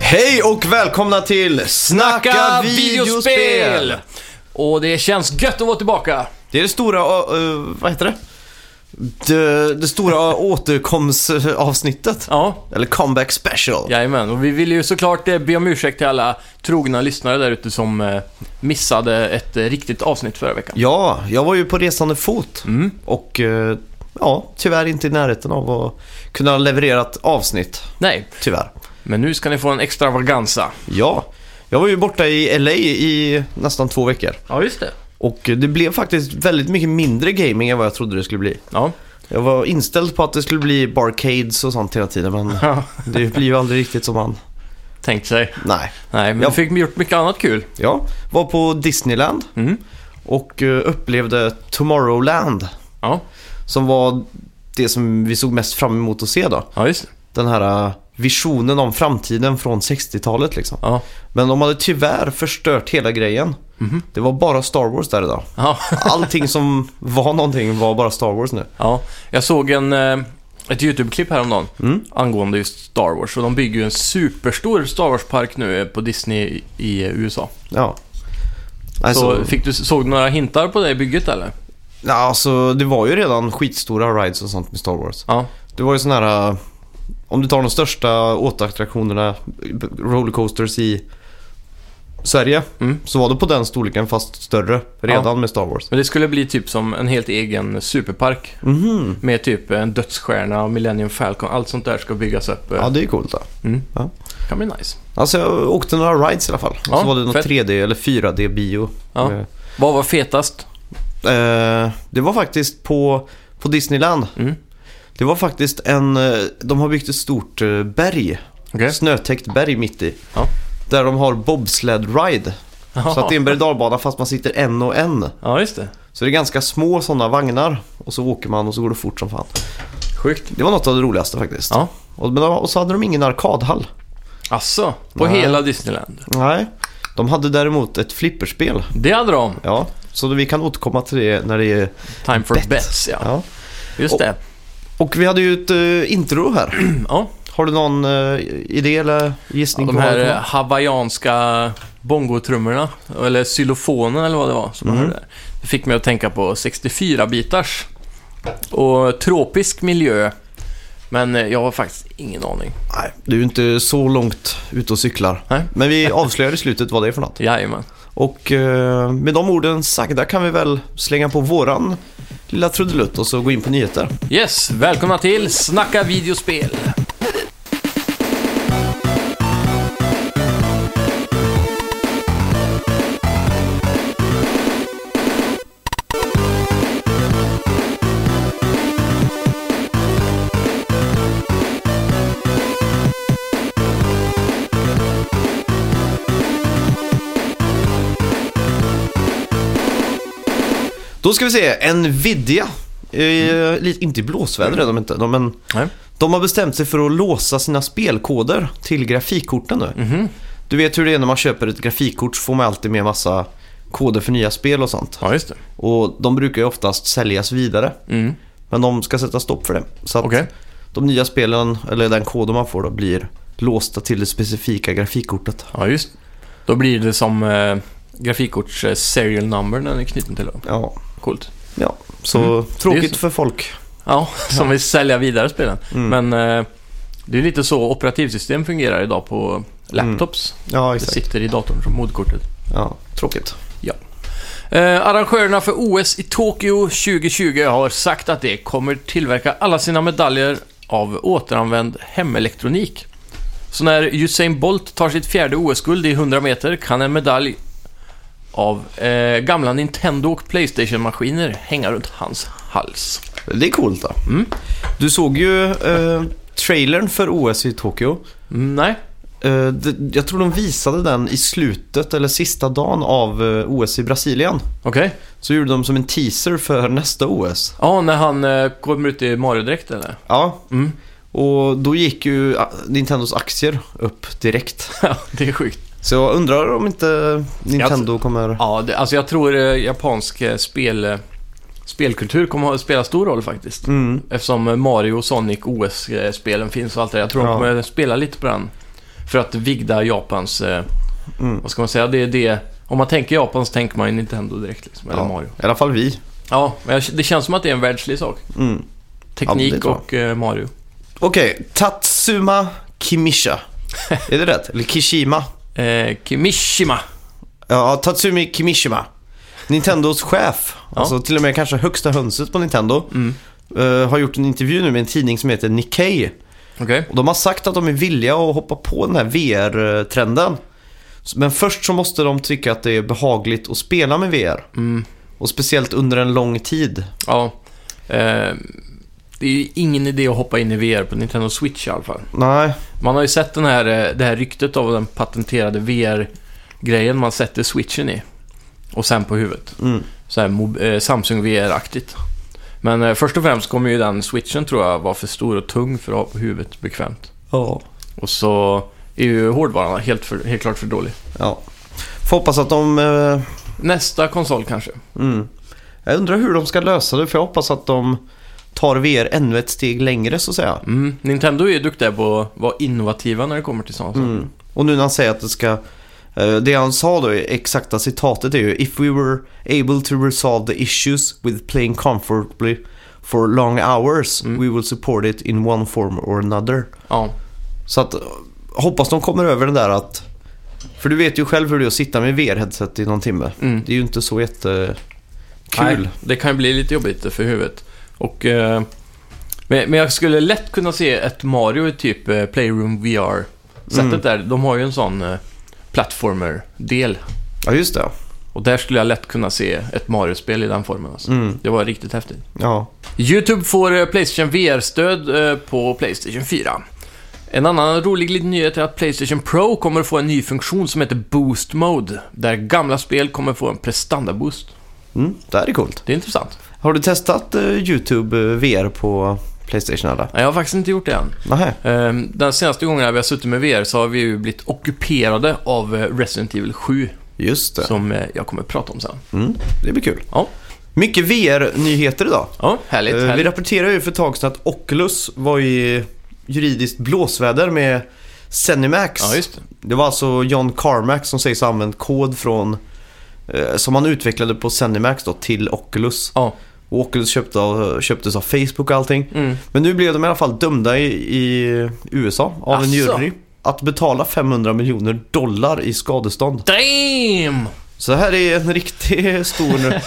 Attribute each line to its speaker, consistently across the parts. Speaker 1: Hej och välkomna till Snacka, videospel!
Speaker 2: Och det känns gött att vara tillbaka.
Speaker 1: Det är det stora, eh, vad heter det? Det, det stora återkomstavsnittet.
Speaker 2: Ja,
Speaker 1: Eller comeback special.
Speaker 2: jajamän. Och vi vill ju såklart eh, be om ursäkt till alla trogna lyssnare där ute som eh, missade ett eh, riktigt avsnitt förra veckan.
Speaker 1: Ja, jag var ju på resande fot.
Speaker 2: Mm.
Speaker 1: Och eh, ja, tyvärr inte i närheten av att kunna leverera ett avsnitt.
Speaker 2: Nej,
Speaker 1: Tyvärr.
Speaker 2: men nu ska ni få en extravaganza.
Speaker 1: Ja, jag var ju borta i LA i nästan två veckor.
Speaker 2: Ja, just det.
Speaker 1: Och det blev faktiskt väldigt mycket mindre gaming än vad jag trodde det skulle bli.
Speaker 2: Ja,
Speaker 1: Jag var inställd på att det skulle bli barcades och sånt hela tiden men det blir ju aldrig riktigt som man...
Speaker 2: tänkt sig.
Speaker 1: Nej.
Speaker 2: Nej, men
Speaker 1: Ja.
Speaker 2: vi fick gjort mycket annat kul.
Speaker 1: Ja, var på Disneyland
Speaker 2: Mm.
Speaker 1: och eh, upplevde Tomorrowland
Speaker 2: Ja,
Speaker 1: som var det som vi såg mest fram emot att se då.
Speaker 2: ja just det.
Speaker 1: Den här eh, visionen om framtiden från 60-talet liksom.
Speaker 2: Ja.
Speaker 1: Men de hade tyvärr förstört hela grejen. Det var bara Star Wars där idag.
Speaker 2: Ja.
Speaker 1: Allting som var någonting var bara Star Wars nu.
Speaker 2: Ja, jag såg en, eh, ett YouTube-klipp häromdagen
Speaker 1: Mm.
Speaker 2: angående just Star Wars. Och de bygger ju en superstor Star Wars-park nu eh, på Disney i- i eh, USA.
Speaker 1: Ja.
Speaker 2: Så
Speaker 1: Alltså,
Speaker 2: fick du, såg du några hintar på det bygget eller?
Speaker 1: ja, alltså, det var ju redan skitstora rides och sånt med Star Wars.
Speaker 2: Ja,
Speaker 1: Det var ju sådana här... äh, Om du tar de största åtattraktionerna, rollercoasters i Sverige.
Speaker 2: Mm.
Speaker 1: Så var det på den storleken fast större redan med Star Wars.
Speaker 2: men det skulle bli typ som en helt egen superpark.
Speaker 1: Mhm.
Speaker 2: Med typ en dödsstjärna och Millennium Falcon. Allt sånt där ska byggas upp. eh.
Speaker 1: Ja, det är coolt då.
Speaker 2: Mm.
Speaker 1: Ja.
Speaker 2: kan bli nice.
Speaker 1: Alltså jag åkte några rides i alla fall. och
Speaker 2: Ja,
Speaker 1: så var det någon
Speaker 2: fett.
Speaker 1: 3D eller 4D-bio.
Speaker 2: Ja.
Speaker 1: Eh,
Speaker 2: Vad var fetast?
Speaker 1: Eh, det var faktiskt på, på Disneyland.
Speaker 2: Mm.
Speaker 1: Det var faktiskt en... eh, De har byggt ett stort eh, berg.
Speaker 2: Okej.
Speaker 1: Snötäckt berg mitt i.
Speaker 2: Ja.
Speaker 1: Där de har bobsled ride. Så att det är en berg och dalbana fast man sitter en och en.
Speaker 2: Ja, just det.
Speaker 1: Så det är ganska små sådana vagnar. Och så åker man och så går det fort som fan.
Speaker 2: Sjukt.
Speaker 1: Det var något av det roligaste faktiskt.
Speaker 2: Ja.
Speaker 1: Och, men, de- och så hade de ingen arkadhall.
Speaker 2: Asså, Alltså, på
Speaker 1: Nej.
Speaker 2: hela Disneyland.
Speaker 1: Nej. De hade däremot ett flipperspel.
Speaker 2: Det hade de.
Speaker 1: Ja, så vi kan återkomma till det när det är...
Speaker 2: Time for
Speaker 1: Bet.
Speaker 2: bets, ja.
Speaker 1: Ja.
Speaker 2: Just
Speaker 1: Och-
Speaker 2: det.
Speaker 1: Och vi hade ju ett eh, intro här.
Speaker 2: Ja.
Speaker 1: Har du någon eh, idé eller
Speaker 2: Ja,
Speaker 1: gissning?
Speaker 2: de
Speaker 1: på vad
Speaker 2: här
Speaker 1: det
Speaker 2: eh,
Speaker 1: kan
Speaker 2: hawaiianska bongotrummorna, eller xylofonen eller vad det var som man hörde där. Det fick mig att tänka på 64-bitars. Och tropisk miljö. Men eh, jag har faktiskt ingen aning.
Speaker 1: vara? Nej, du är ju inte så långt ute och cyklar.
Speaker 2: Nej.
Speaker 1: Men vi avslöjar i slutet vad det är för något.
Speaker 2: Jajamän.
Speaker 1: Och eh, med de orden sagda kan vi väl slänga på våran lilla trudelutt och så gå in på nyheter.
Speaker 2: Yes, välkomna till Snacka videospel.
Speaker 1: Då ska vi se, Nvidia. Eh, lite, inte i blåsväder är de inte, de, men
Speaker 2: Nej.
Speaker 1: de har bestämt sig för att låsa sina spelkoder till grafikkorten nu.
Speaker 2: Mhm.
Speaker 1: Du vet hur det är när man köper ett grafikkort så får man alltid med massa koder för nya spel och sånt.
Speaker 2: Ja, just det.
Speaker 1: Och de brukar ju oftast säljas vidare.
Speaker 2: Mm.
Speaker 1: Men de ska sätta stopp för det. Så att
Speaker 2: Okej.
Speaker 1: de nya spelen, eller den koden man får då, blir låsta till det specifika grafikkortet.
Speaker 2: Ja, just Då blir det som eh, grafikkorts eh, serial number när den är knuten till dem.
Speaker 1: Ja,
Speaker 2: Coolt.
Speaker 1: ja. så
Speaker 2: Mm. Det är
Speaker 1: tråkigt
Speaker 2: så.
Speaker 1: för folk.
Speaker 2: Ja, som vill sälja vidare spelen.
Speaker 1: Mm.
Speaker 2: Men eh, det är lite så operativsystem fungerar idag på laptops.
Speaker 1: Ja,
Speaker 2: Det
Speaker 1: Mm. exakt.
Speaker 2: sitter i datorn som moderkortet.
Speaker 1: Ja, tråkigt.
Speaker 2: Eh, arrangörerna för OS i Tokyo 2020 har sagt att de kommer tillverka alla sina medaljer av återanvänd hemelektronik. Så när Usain Bolt tar sitt fjärde OS-guld i 100 meter kan en medalj av eh, gamla Nintendo och Playstation-maskiner hänga runt hans hals.
Speaker 1: Det är coolt då.
Speaker 2: Mm.
Speaker 1: Du såg ju eh, trailern för OS i Tokyo.
Speaker 2: Mm, nej,
Speaker 1: Eh, det, jag tror de visade den i slutet eller sista dagen av eh, OS i Brasilien.
Speaker 2: okej.
Speaker 1: Så gjorde de som en teaser för nästa OS.
Speaker 2: Ja, när han eh, kommer ut i Mario-dräkt eller?
Speaker 1: Ja,
Speaker 2: Mm.
Speaker 1: och då gick ju ah, Nintendos aktier upp direkt.
Speaker 2: Ja, det är sjukt.
Speaker 1: Så jag undrar om inte Nintendo kommer...
Speaker 2: Ja, det, alltså jag tror eh, japansk eh, spel, eh, spelkultur kommer att spela stor roll faktiskt.
Speaker 1: Mm.
Speaker 2: Eftersom eh, Mario, Sonic, OS-spelen finns och allt det där. Jag tror
Speaker 1: Ja.
Speaker 2: de kommer spela lite på den För att vigda Japans, eh, vad ska man säga, det är det... Om man tänker Japan så tänker man ju Nintendo direkt liksom, eller
Speaker 1: Ja,
Speaker 2: Mario.
Speaker 1: I alla fall vi.
Speaker 2: Ja, men jag- det känns som att det är en världslig sak.
Speaker 1: Mm.
Speaker 2: Teknik
Speaker 1: Ja, det tror jag.
Speaker 2: och eh, Mario.
Speaker 1: Okej, Tatsuma Kimisha. Är det rätt? Eller Kishima?
Speaker 2: Eh, Kimishima.
Speaker 1: Ja, Tatsumi Kimishima. Nintendos chef,
Speaker 2: Ja.
Speaker 1: alltså till och med kanske högsta hönset på Nintendo,
Speaker 2: Mm.
Speaker 1: eh, har gjort en intervju nu med en tidning som heter Nikkei.
Speaker 2: Okej.
Speaker 1: Och de har sagt att de är villiga att hoppa på den här VR-trenden. Men först så måste de tycka att det är behagligt att spela med VR.
Speaker 2: Mm.
Speaker 1: Och speciellt under en lång tid.
Speaker 2: Ja. Eh, det är ju ingen idé att hoppa in i VR på Nintendo Switch i alla fall.
Speaker 1: Nej,
Speaker 2: Man har ju sett den här, eh, det här ryktet av den patenterade VR-grejen man sätter switchen i. Och sen på huvudet.
Speaker 1: mm.
Speaker 2: Så här mob- eh, Samsung VR-aktigt. Men eh, först och främst kommer ju den switchen tror jag vara för stor och tung för att ha på huvudet bekvämt.
Speaker 1: Ja.
Speaker 2: Och så är ju hårdvaran helt, för, helt klart för dålig.
Speaker 1: ja. Får hoppas att de... eh,
Speaker 2: Nästa konsol kanske.
Speaker 1: Mm. Jag undrar hur de ska lösa det, för jag hoppas att de tar VR ännu ett steg längre så att säga.
Speaker 2: Mm. Nintendo är ju duktiga på att vara innovativa när det kommer till sånt.
Speaker 1: Mm. Och nu när han säger att det ska... eh, Det han sa då, exakta citatet är ju If we were able to resolve the issues with playing comfortably for long hours
Speaker 2: Mm.
Speaker 1: we will support it in one form or another.
Speaker 2: Ja.
Speaker 1: Så att eh, hoppas de kommer över den där att... För du vet ju själv hur det är att sitta med VR-headset i någon timme.
Speaker 2: Mm.
Speaker 1: Det är ju inte så jättekul.
Speaker 2: Nej, det kan ju bli lite jobbigt för huvudet. Och, eh, men, men jag skulle lätt kunna se ett Mario i typ eh, Playroom VR. Sättet
Speaker 1: Mm.
Speaker 2: där, de har ju en sån eh, plattformer-del.
Speaker 1: Ja, just det.
Speaker 2: Och där skulle jag lätt kunna se ett Mario-spel i den formen. Alltså.
Speaker 1: Mm.
Speaker 2: Det var riktigt häftigt.
Speaker 1: Ja.
Speaker 2: YouTube får eh, Playstation VR-stöd eh, på Playstation 4. En annan rolig liten nyhet är att Playstation Pro kommer att få en ny funktion som heter Boost Mode. Där gamla spel kommer få en prestanda-boost.
Speaker 1: Mm, det här är coolt.
Speaker 2: Det är intressant.
Speaker 1: Har du testat eh, YouTube eh, VR på Playstation eller?
Speaker 2: Nej, Jag har faktiskt inte gjort det än.
Speaker 1: Nej.
Speaker 2: Ehm, Den senaste gången vi har suttit med VR så har vi ju blivit ockuperade av eh, Resident Evil 7
Speaker 1: Just det.
Speaker 2: som eh, jag kommer att prata om sen.
Speaker 1: Mm, det blir kul.
Speaker 2: Ja,
Speaker 1: Mycket VR-nyheter idag.
Speaker 2: ja härligt.
Speaker 1: Eh, Vi
Speaker 2: härligt.
Speaker 1: rapporterade ju för ett tag sedan att Oculus var i juridiskt blåsväder med Zenimax.
Speaker 2: Ja, just det.
Speaker 1: Det var alltså John Carmack som sägs ha använt kod från eh, som han utvecklade på Zenimax då till Oculus.
Speaker 2: Ja.
Speaker 1: Och Oculus köpte av, eh, köptes av Facebook och allting.
Speaker 2: Mm.
Speaker 1: Men nu blev de i alla fall dömda i, i USA av en
Speaker 2: Asså?
Speaker 1: jury. Att betala 500 miljoner dollar i skadestånd.
Speaker 2: Damn!
Speaker 1: Så det här är en riktigt stor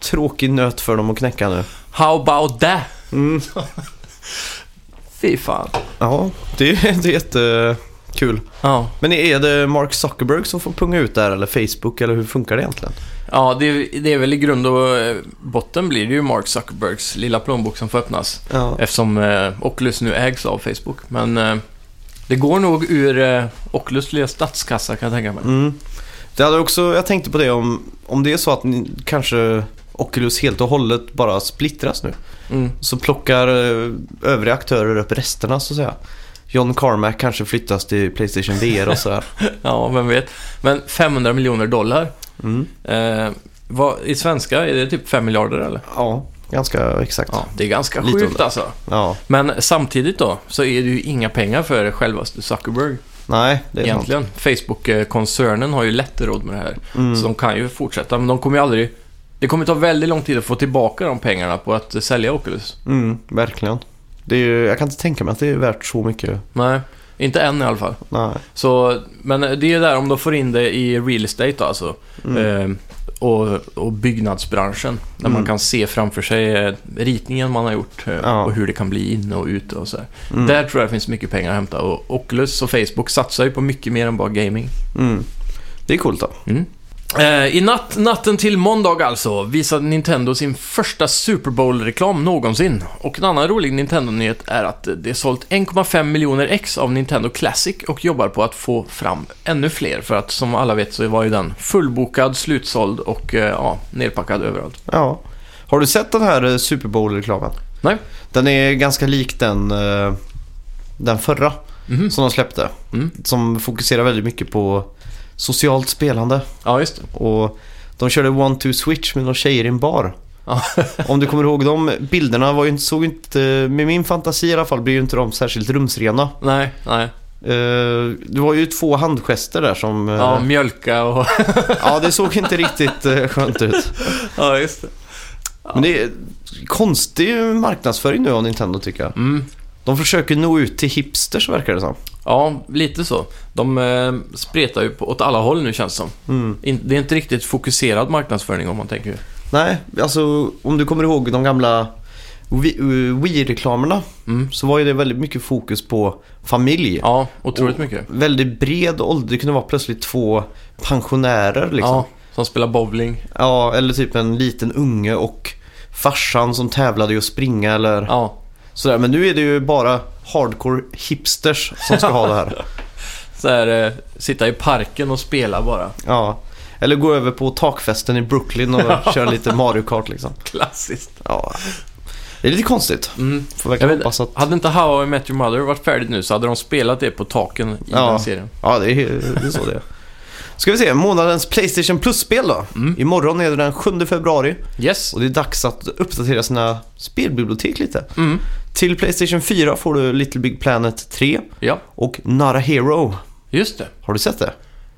Speaker 1: tråkig nöt för dem att knäcka nu.
Speaker 2: How about that?
Speaker 1: Mm.
Speaker 2: Fy fan.
Speaker 1: Ja, det, är- det är jättekul.
Speaker 2: Ja,
Speaker 1: Men är det Mark Zuckerberg som får punga ut där eller Facebook eller hur funkar det egentligen?
Speaker 2: ja det, det är väl i grund och eh, botten blir det ju Mark Zuckerbergs lilla plånbok som får öppnas.
Speaker 1: Ja,
Speaker 2: Eftersom eh, Oculus nu ägs av Facebook. Men eh, det går nog ur eh, Oculus lilla statskassa kan jag tänka mig.
Speaker 1: mm. det hade också, jag tänkte på det om, om det är så att ni, kanske Oculus helt och hållet bara splittras nu.
Speaker 2: Mm.
Speaker 1: Så plockar eh, övriga aktörer upp resterna så att säga. John Carmack kanske flyttas till Playstation VR och sådär.
Speaker 2: Ja, vem vet. Men 500 miljoner dollar.
Speaker 1: Mm.
Speaker 2: Eh, vad, I svenska, är det typ 5 miljarder eller?
Speaker 1: Ja, ganska exakt.
Speaker 2: Ja, det är ganska
Speaker 1: Lite
Speaker 2: sjukt
Speaker 1: under.
Speaker 2: alltså.
Speaker 1: Ja.
Speaker 2: Men samtidigt då, så är det ju inga pengar för självaste Zuckerberg
Speaker 1: Nej, det är sant.
Speaker 2: egentligen. Facebook-koncernen har ju lätt råd med det här.
Speaker 1: Mm.
Speaker 2: Så de kan ju fortsätta, men de kommer ju aldrig... Det kommer ta väldigt lång tid att få tillbaka de pengarna på att sälja Oculus.
Speaker 1: Mm, verkligen. Det är ju, jag kan inte tänka mig att det är värt så mycket.
Speaker 2: Nej, inte än i alla fall.
Speaker 1: Nej.
Speaker 2: Så, men det är där om de får in det i real estate då, alltså. Eh, och, och byggnadsbranschen. Där man kan se framför sig eh, ritningen man har gjort eh,
Speaker 1: Ja.
Speaker 2: och hur det kan bli inne och ute och så här. Där tror jag det finns mycket pengar att hämta. Och Oculus och Facebook satsar ju på mycket mer än bara gaming.
Speaker 1: Mm. Det är coolt då.
Speaker 2: Mm. Eh, I natt, natten till måndag alltså visade Nintendo sin första Super Bowl-reklam någonsin. Och en annan rolig Nintendo-nyhet är att det sålt 1,5 miljoner ex av Nintendo Classic och jobbar på att få fram ännu fler. För att som alla vet så var ju den fullbokad, slutsåld och eh, ja, nerpackad överallt.
Speaker 1: Ja. Har du sett den här eh, Super Bowl-reklamen?
Speaker 2: Nej?
Speaker 1: Den är ganska lik den, eh, den förra
Speaker 2: Mhm.
Speaker 1: som de släppte.
Speaker 2: Mm.
Speaker 1: Som fokuserar väldigt mycket på socialt spelande.
Speaker 2: Ja, just det.
Speaker 1: Och de körde one-two-switch med några tjejer i en bar.
Speaker 2: Ja.
Speaker 1: Om du kommer ihåg de bilderna var ju inte, såg ju inte, med min fantasi i alla fall, blir ju inte de särskilt rumsrena.
Speaker 2: Nej, nej.
Speaker 1: Eh, det var ju två handgester där som... eh,
Speaker 2: Ja, mjölka och...
Speaker 1: ja, det såg inte riktigt eh, skönt ut.
Speaker 2: ja, just det.
Speaker 1: Men det är konstig marknadsföring nu av Nintendo tycker jag.
Speaker 2: Mm.
Speaker 1: De försöker nå ut till hipsters verkar det som.
Speaker 2: Ja, lite så. De eh, spretar ju på, åt alla håll nu känns det som.
Speaker 1: Mm.
Speaker 2: In, det är inte riktigt fokuserad marknadsföring om man tänker.
Speaker 1: Nej, alltså om du kommer ihåg de gamla Wii- eh, Wii-reklamerna
Speaker 2: Mm.
Speaker 1: så var ju det väldigt mycket fokus på familj.
Speaker 2: Ja, otroligt mycket.
Speaker 1: Väldigt bred ålder, det kunde vara plötsligt två pensionärer liksom.
Speaker 2: Ja, som spelar bowling.
Speaker 1: Ja, eller typ en liten unge och farsan som tävlade i att springa eller
Speaker 2: Ja,
Speaker 1: sådär. Men nu är det ju bara hardcore hipsters som ska ha det här.
Speaker 2: så här, eh, sitta i parken och spela bara.
Speaker 1: Ja. Eller gå över på takfesten i Brooklyn och köra lite Mario Kart liksom.
Speaker 2: Klassiskt.
Speaker 1: Ja. Det är lite konstigt.
Speaker 2: Mm.
Speaker 1: Får verkligen
Speaker 2: Jag vet,
Speaker 1: hoppas att...
Speaker 2: Hade inte How I Met Your Mother varit färdigt nu så hade de spelat det på taken i
Speaker 1: Ja.
Speaker 2: den serien.
Speaker 1: Ja, det är, det är så det är. Ska vi se, månadens Playstation Plus-spel då.
Speaker 2: Mm.
Speaker 1: Imorgon är det den 7 februari
Speaker 2: Yes.
Speaker 1: och det är dags att uppdatera sina spelbibliotek lite.
Speaker 2: Mm.
Speaker 1: Till Playstation 4 får du Little Big Planet 3
Speaker 2: Ja,
Speaker 1: och Nara Hero.
Speaker 2: just det.
Speaker 1: Har du sett det?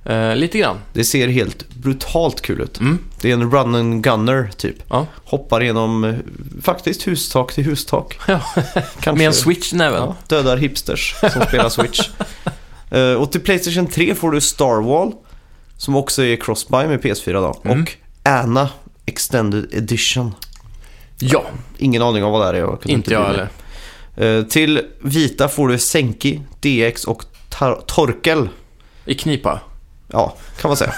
Speaker 2: Eh, lite grann.
Speaker 1: Det ser helt brutalt kul ut.
Speaker 2: Mm.
Speaker 1: Det är en run and gunner typ.
Speaker 2: Ja.
Speaker 1: Hoppar genom eh, faktiskt hustak till hustak.
Speaker 2: Ja.
Speaker 1: Kanske.
Speaker 2: Med en switch i näven.
Speaker 1: Ja, dödar hipsters som spelar Switch. Eh, och till Playstation 3 får du Starwall, som också är crossbuy med PS4 då.
Speaker 2: Mm.
Speaker 1: Och Anna Extended Edition.
Speaker 2: Ja,
Speaker 1: Ingen aning om vad det här är. Jag kunde
Speaker 2: inte jag
Speaker 1: bli
Speaker 2: heller.
Speaker 1: med. Eh, till Vita får du Senki, DX och Tar- Torkel.
Speaker 2: I knipa.
Speaker 1: Ja, kan man säga.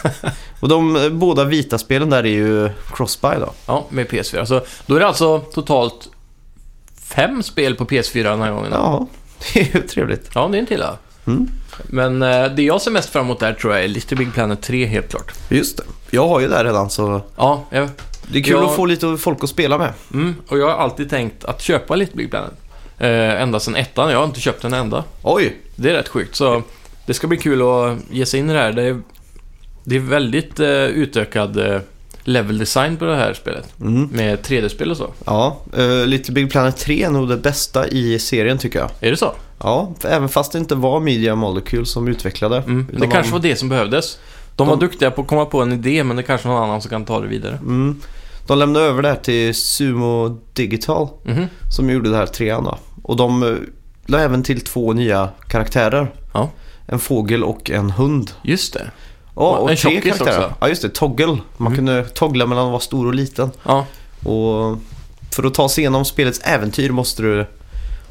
Speaker 1: och de eh, båda vita spelen där är ju crossbuy då.
Speaker 2: Ja, med PS4. Så då är det alltså totalt fem spel på PS4 den här gången. Ja,
Speaker 1: Ja, det är ju trevligt.
Speaker 2: det är inte illa.
Speaker 1: Mm.
Speaker 2: Men eh, det jag ser mest fram emot där tror jag är Little Big Planet 3 helt klart.
Speaker 1: Just det. Jag har ju det här redan så
Speaker 2: Ja, jag,
Speaker 1: det är kul
Speaker 2: Ja.
Speaker 1: att få lite folk att spela med.
Speaker 2: mm, och jag har alltid tänkt att köpa Little Big Planet. Eh, ända sedan ettan. Jag har inte köpt en enda.
Speaker 1: Oj!
Speaker 2: Det är rätt sjukt. Så det ska bli kul att ge sig in i det här. Det är, det är väldigt eh, utökad eh, level design på det här spelet.
Speaker 1: Mm.
Speaker 2: Med 3D-spel och så.
Speaker 1: Ja, eh, Little Big Planet 3 är nog det bästa i serien tycker jag.
Speaker 2: Är det så?
Speaker 1: Ja, för även fast det inte var Media Molecule som utvecklade.
Speaker 2: Mm.
Speaker 1: utan
Speaker 2: Det kanske
Speaker 1: de,
Speaker 2: var det som behövdes. De var
Speaker 1: de-
Speaker 2: duktiga på att komma på en idé, men det kanske är någon annan som kan ta det vidare.
Speaker 1: Mm, de lämnade över det här till Sumo Digital
Speaker 2: Mhm.
Speaker 1: som gjorde det här trean då. Och de eh, la även till två nya karaktärer.
Speaker 2: Ja.
Speaker 1: En fågel och en hund.
Speaker 2: Just det.
Speaker 1: Ja, och
Speaker 2: En
Speaker 1: tre
Speaker 2: tjockis
Speaker 1: karaktärer.
Speaker 2: också.
Speaker 1: Ja, just det. Toggle. Man
Speaker 2: Mm.
Speaker 1: kunde toggla mellan att vara stor och liten.
Speaker 2: Ja,
Speaker 1: Och för att ta sig igenom spelets äventyr måste du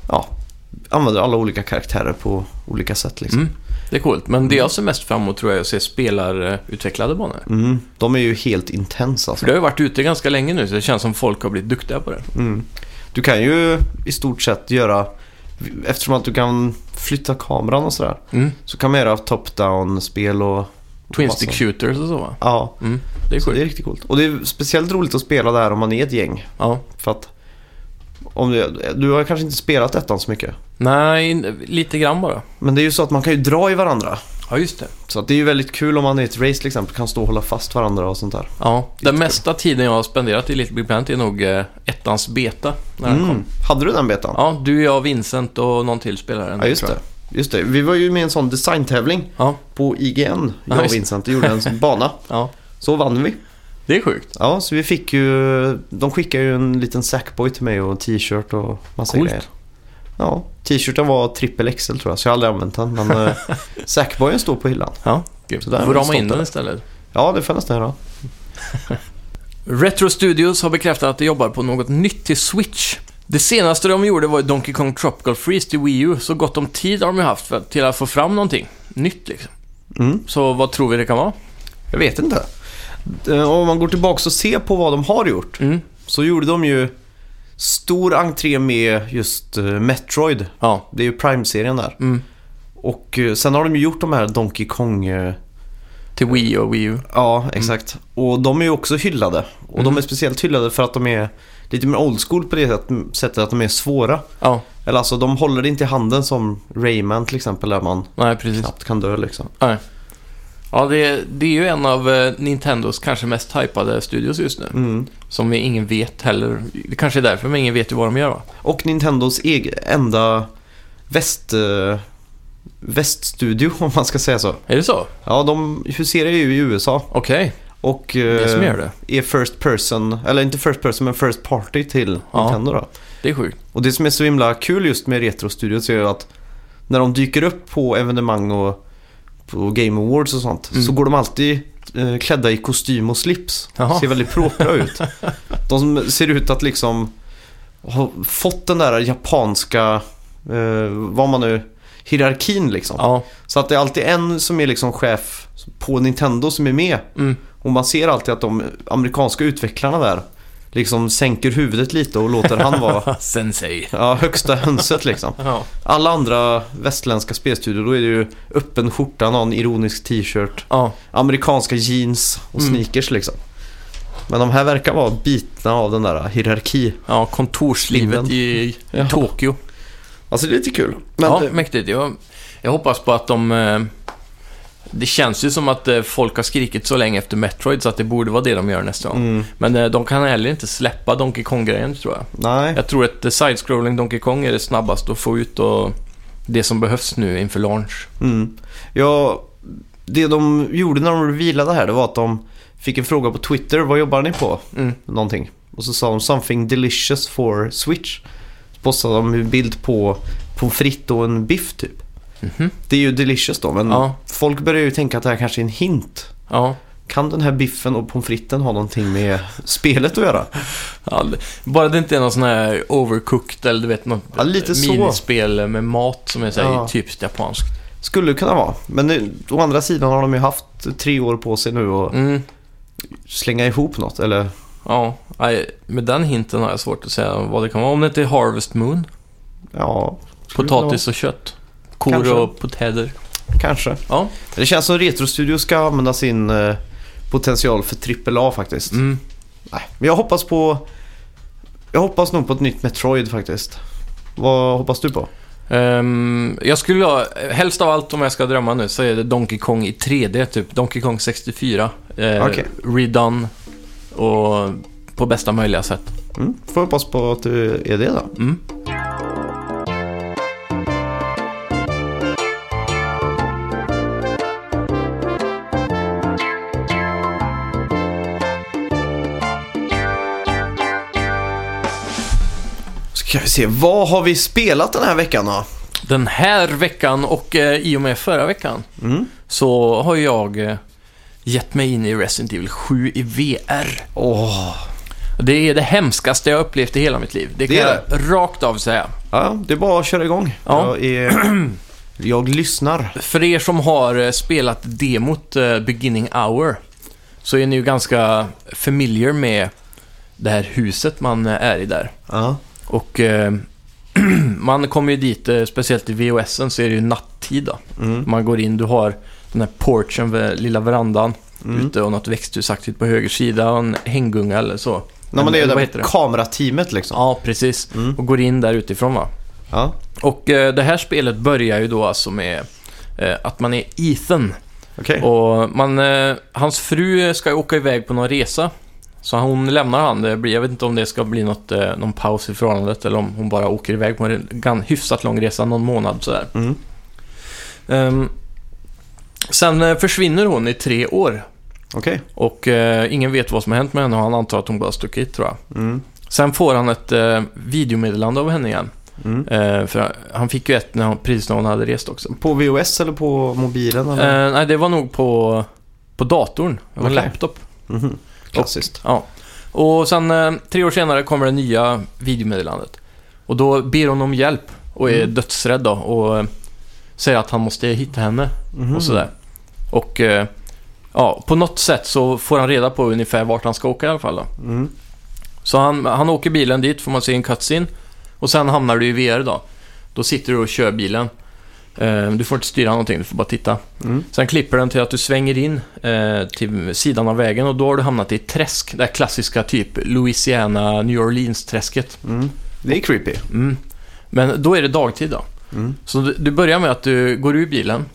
Speaker 1: ja, använda alla olika karaktärer på olika sätt. Liksom.
Speaker 2: mm. det är coolt. Men det jag ser mest fram emot tror jag är att se spelarutvecklade banor.
Speaker 1: Mm. De är ju helt intensa.
Speaker 2: För
Speaker 1: Alltså.
Speaker 2: det har ju varit ute ganska länge nu, så det känns som folk har blivit duktiga på det.
Speaker 1: Mm. Du kan ju i stort sett göra, eftersom att du kan flytta kameran och sådär,
Speaker 2: Mm.
Speaker 1: så kan man göra top-down-spel och...
Speaker 2: Twin
Speaker 1: massa-
Speaker 2: stick shooters och så va?
Speaker 1: Ja,
Speaker 2: Mm. Det är
Speaker 1: så det
Speaker 2: coolt.
Speaker 1: är riktigt coolt. Och det är speciellt roligt att spela det här om man är ett gäng.
Speaker 2: Ja.
Speaker 1: För att om du, du har kanske inte spelat ettan så mycket.
Speaker 2: Nej, lite grann bara.
Speaker 1: Men det är ju så att man kan ju dra i varandra.
Speaker 2: Ja, just det.
Speaker 1: Så att det är ju väldigt kul om man i ett race till exempel kan stå och hålla fast varandra och sånt där.
Speaker 2: Ja, den
Speaker 1: Jättekul.
Speaker 2: mesta tiden jag har spenderat i Little Big Planet är nog eh, ettans beta. När den kom.
Speaker 1: Mm. Hade du den betan?
Speaker 2: Ja, du, jag, Vincent och någon till spelare.
Speaker 1: Ja, just det. Just det. Vi var ju med i en sån designtävling
Speaker 2: Ja,
Speaker 1: på IGN, jag
Speaker 2: just
Speaker 1: och
Speaker 2: det.
Speaker 1: Vincent, och gjorde en sån bana.
Speaker 2: ja.
Speaker 1: Så vann vi.
Speaker 2: Det är sjukt.
Speaker 1: Ja, så vi fick ju... De skickade ju en liten Sackboy till mig och en t-shirt och massa
Speaker 2: Coolt.
Speaker 1: grejer. Ja, t-shirten var trippel XL tror jag, så jag har aldrig använt den. Men eh, Sackboyen står på hyllan.
Speaker 2: Ja,
Speaker 1: Så där
Speaker 2: grymt. Du
Speaker 1: är
Speaker 2: får
Speaker 1: vi
Speaker 2: rama in
Speaker 1: stolta.
Speaker 2: den istället.
Speaker 1: Ja, det får jag nästan göra.
Speaker 2: Retro Studios har bekräftat att de jobbar på något nytt till Switch. Det senaste de gjorde var ju Donkey Kong Tropical Freeze till Wii U, så gott om tid har de ju haft för, till att få fram någonting nytt liksom.
Speaker 1: Mm.
Speaker 2: Så vad tror vi det kan vara?
Speaker 1: Jag vet inte. Eh, Om man går tillbaka och ser på vad de har gjort.
Speaker 2: Mm.
Speaker 1: så gjorde de ju stor entré med just eh, Metroid.
Speaker 2: Ja.
Speaker 1: Det är ju Prime-serien där.
Speaker 2: Mm.
Speaker 1: Och eh, sen har de ju gjort de här Donkey Kong... eh,
Speaker 2: Till Wii och Wii U.
Speaker 1: Ja, exakt. Och de är ju också hyllade. Och de
Speaker 2: Mm.
Speaker 1: är speciellt hyllade för att de är lite mer old school på det sätt- sättet att de är svåra.
Speaker 2: Ja,
Speaker 1: Eller alltså, de håller det inte i handen som Rayman till exempel, där man
Speaker 2: nej precis.
Speaker 1: knappt kan dö liksom.
Speaker 2: Nej. Ja, det, det är ju en av eh, Nintendos kanske mest hypade studios just nu.
Speaker 1: Mm.
Speaker 2: Som vi ingen vet heller. Det kanske är därför men ingen vet ju vad de gör va?
Speaker 1: Och Nintendos egen, enda väst... eh, väststudio om man ska säga så.
Speaker 2: Är det så?
Speaker 1: Ja, de huserar ju i USA
Speaker 2: Okej,
Speaker 1: och
Speaker 2: det är som gör
Speaker 1: eh,
Speaker 2: det.
Speaker 1: är first person, eller inte first person men first party till
Speaker 2: Ja.
Speaker 1: Nintendo då.
Speaker 2: Det är sjukt.
Speaker 1: Och det som är så himla kul just med Retrostudios är ju att när de dyker upp på evenemang och på Game Awards och sånt
Speaker 2: Mm.
Speaker 1: så går de alltid eh, klädda i kostym och slips.
Speaker 2: Jaha.
Speaker 1: Ser väldigt propra ut. De som ser ut att liksom ha fått den där japanska, eh, vad man nu, hierarkin liksom.
Speaker 2: Ja.
Speaker 1: Så att det är alltid en som är liksom chef på Nintendo som är med.
Speaker 2: Mm.
Speaker 1: Och man ser alltid att de amerikanska utvecklarna där liksom sänker huvudet lite och låter han vara
Speaker 2: Sensei.
Speaker 1: Ja, högsta hönset liksom.
Speaker 2: Ja.
Speaker 1: Alla andra västländska spelstudior, då är det ju öppen skjorta, någon ironisk t-shirt,
Speaker 2: ja.
Speaker 1: amerikanska jeans och
Speaker 2: Mm.
Speaker 1: sneakers liksom. Men de här verkar vara bitna av den där hierarki.
Speaker 2: Ja, kontorslivet i, i
Speaker 1: Ja.
Speaker 2: Tokyo.
Speaker 1: Alltså det är lite kul. Men
Speaker 2: ja,
Speaker 1: ja.
Speaker 2: mäktigt. Jag, jag hoppas på att de... eh, Det känns ju som att eh, folk har skrikit så länge efter Metroid så att det borde vara det de gör nästa gång.
Speaker 1: Mm,
Speaker 2: Men eh, de kan heller inte släppa Donkey Kong-grejen tror jag.
Speaker 1: nej.
Speaker 2: Jag tror att eh, side-scrolling Donkey Kong är det snabbaste att få ut och det som behövs nu inför launch.
Speaker 1: Mm. Ja, det de gjorde när de revealade här, det var att de fick en fråga på Twitter. Vad jobbar ni på?
Speaker 2: Mm.
Speaker 1: Någonting. Och så sa de “Something delicious for Switch”. Så postade de en bild på pommes frites och en biff typ.
Speaker 2: Mhm.
Speaker 1: Det är ju delicious då, men
Speaker 2: Ja.
Speaker 1: folk börjar ju tänka att det här kanske är en hint.
Speaker 2: Ja.
Speaker 1: Kan den här biffen och pommes fritesen ha någonting med spelet att göra?
Speaker 2: Ja, det- Bara det inte är någon sån här overcooked eller du vet något
Speaker 1: Ja, lite så.
Speaker 2: minispel med mat som är så här,
Speaker 1: Ja.
Speaker 2: typiskt japanskt.
Speaker 1: Skulle kunna vara, men nu, å andra sidan har de ju haft tre år på sig nu att
Speaker 2: Mm.
Speaker 1: slänga ihop något. Eller,
Speaker 2: Ja, nej, med den hinten har jag svårt att säga vad det kan vara. Om det inte är Harvest Moon,
Speaker 1: ja, skulle kunna
Speaker 2: potatis och kött, kor
Speaker 1: Kanske.
Speaker 2: och potäder.
Speaker 1: vara. kanske.
Speaker 2: Ja.
Speaker 1: Det känns som Retrostudio ska använda sin eh, potential för AAA faktiskt.
Speaker 2: Mm.
Speaker 1: Nej, men jag hoppas på... Jag hoppas nog på ett nytt Metroid faktiskt. Vad hoppas du på?
Speaker 2: Ehm, jag skulle ha, helst av allt om jag ska drömma nu, så är det Donkey Kong i 3D, typ Donkey Kong 64. Uh,
Speaker 1: Okej.
Speaker 2: Redone och på bästa möjliga sätt.
Speaker 1: Mm, får hoppas på att du är det då.
Speaker 2: Mm.
Speaker 1: Ska vi se, vad har vi spelat den här veckan då?
Speaker 2: Den här veckan och eh, i och med förra veckan
Speaker 1: Mm.
Speaker 2: så har jag eh, gett mig in i Resident Evil 7 i VR.
Speaker 1: Åh,
Speaker 2: Det är det hemskaste jag har upplevt i hela mitt liv. Det kan
Speaker 1: Det
Speaker 2: jag
Speaker 1: är
Speaker 2: rakt av säga.
Speaker 1: ja, det är bara att köra igång.
Speaker 2: Ja.
Speaker 1: Jag, är, jag lyssnar.
Speaker 2: För er som har eh, spelat demot eh, Beginning Hour så är ni ju ganska familiar med det här huset man eh, är i där.
Speaker 1: Ja.
Speaker 2: Och eh, man kommer ju dit, eh, speciellt i VHSen så är det ju nattid då.
Speaker 1: Mm.
Speaker 2: Man går in, du har den här porchen, eh, lilla verandan
Speaker 1: Mm.
Speaker 2: ute och något växthusaktigt på höger sida och en hängunga eller så.
Speaker 1: När man är
Speaker 2: Eller vad
Speaker 1: där
Speaker 2: heter
Speaker 1: på
Speaker 2: det?
Speaker 1: kamerateamet liksom.
Speaker 2: Ja, precis.
Speaker 1: Mm.
Speaker 2: Och går in där utifrån va.
Speaker 1: Ja.
Speaker 2: Och eh, det här spelet börjar ju då alltså med eh, att man är Ethan.
Speaker 1: Okej.
Speaker 2: Och man, eh, hans fru ska ju åka iväg på någon resa. Så hon lämnar han. Det blir, jag vet inte om det ska bli något, eh, någon paus i förhållandet eller om hon bara åker iväg på en gan- hyfsat lång resa, någon månad sådär.
Speaker 1: Mm.
Speaker 2: Ehm, sen eh, försvinner hon i tre år
Speaker 1: Okej.
Speaker 2: och eh, ingen vet vad som har hänt med henne och han antar att hon bara har stuckit tror jag.
Speaker 1: Mm.
Speaker 2: Sen får han ett eh, videomeddelande av henne igen.
Speaker 1: Mm.
Speaker 2: Eh, för han fick ju ett när hon, precis när hon hade rest också.
Speaker 1: På VOS eller på mobilen? Eller?
Speaker 2: Eh, nej, det var nog på, på datorn. Det var en
Speaker 1: Okej.
Speaker 2: laptop.
Speaker 1: Mhm. Klassiskt.
Speaker 2: Ja. Och sen eh, tre år senare kommer det nya videomeddelandet. Och då ber hon om hjälp och är
Speaker 1: Mm.
Speaker 2: dödsrädd då och eh, säger att han måste hitta henne
Speaker 1: Mhm.
Speaker 2: och sådär. Och eh, ja, på något sätt så får han reda på ungefär vart han ska åka i alla fall då.
Speaker 1: Mm.
Speaker 2: Så han, han åker bilen dit, får man se en cutscene. Och sen hamnar du i VR då. Då sitter du och kör bilen. Eh, Du får inte styra någonting, du får bara titta.
Speaker 1: Mm.
Speaker 2: Sen klipper den till att du svänger in eh, till sidan av vägen och då har du hamnat i ett träsk. Det här klassiska typ Louisiana, New Orleans-träsket.
Speaker 1: Mm. Det är creepy.
Speaker 2: Mm. Men då är det dagtid då.
Speaker 1: Mm.
Speaker 2: Så du, du börjar med att du går ur bilen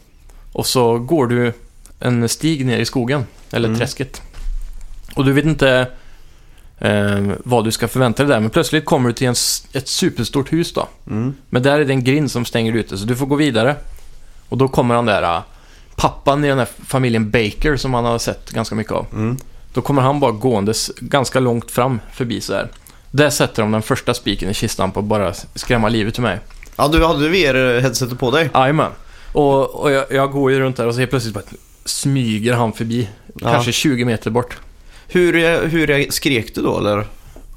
Speaker 2: och så går du en stig ner i skogen, eller
Speaker 1: Mm.
Speaker 2: träsket. Och du vet inte eh, vad du ska förvänta dig där, men plötsligt kommer du till en, s- ett superstort hus då.
Speaker 1: Mm.
Speaker 2: Men där är det en grind som stänger dig ute, så du får gå vidare. Och då kommer han där, äh, pappan i den här familjen Baker som han har sett ganska mycket av.
Speaker 1: Mm.
Speaker 2: Då kommer han bara gåendes ganska långt fram förbi så här. Där sätter de den första spiken i kistan på att bara skrämma livet ur mig.
Speaker 1: Ja, du hade VR-headsetet på dig.
Speaker 2: Jajamän. Och, och jag, jag går ju runt där och så helt plötsligt bara smyger han förbi.
Speaker 1: Ja.
Speaker 2: Kanske 20 meter bort.
Speaker 1: Hur, hur jag skrek du då eller?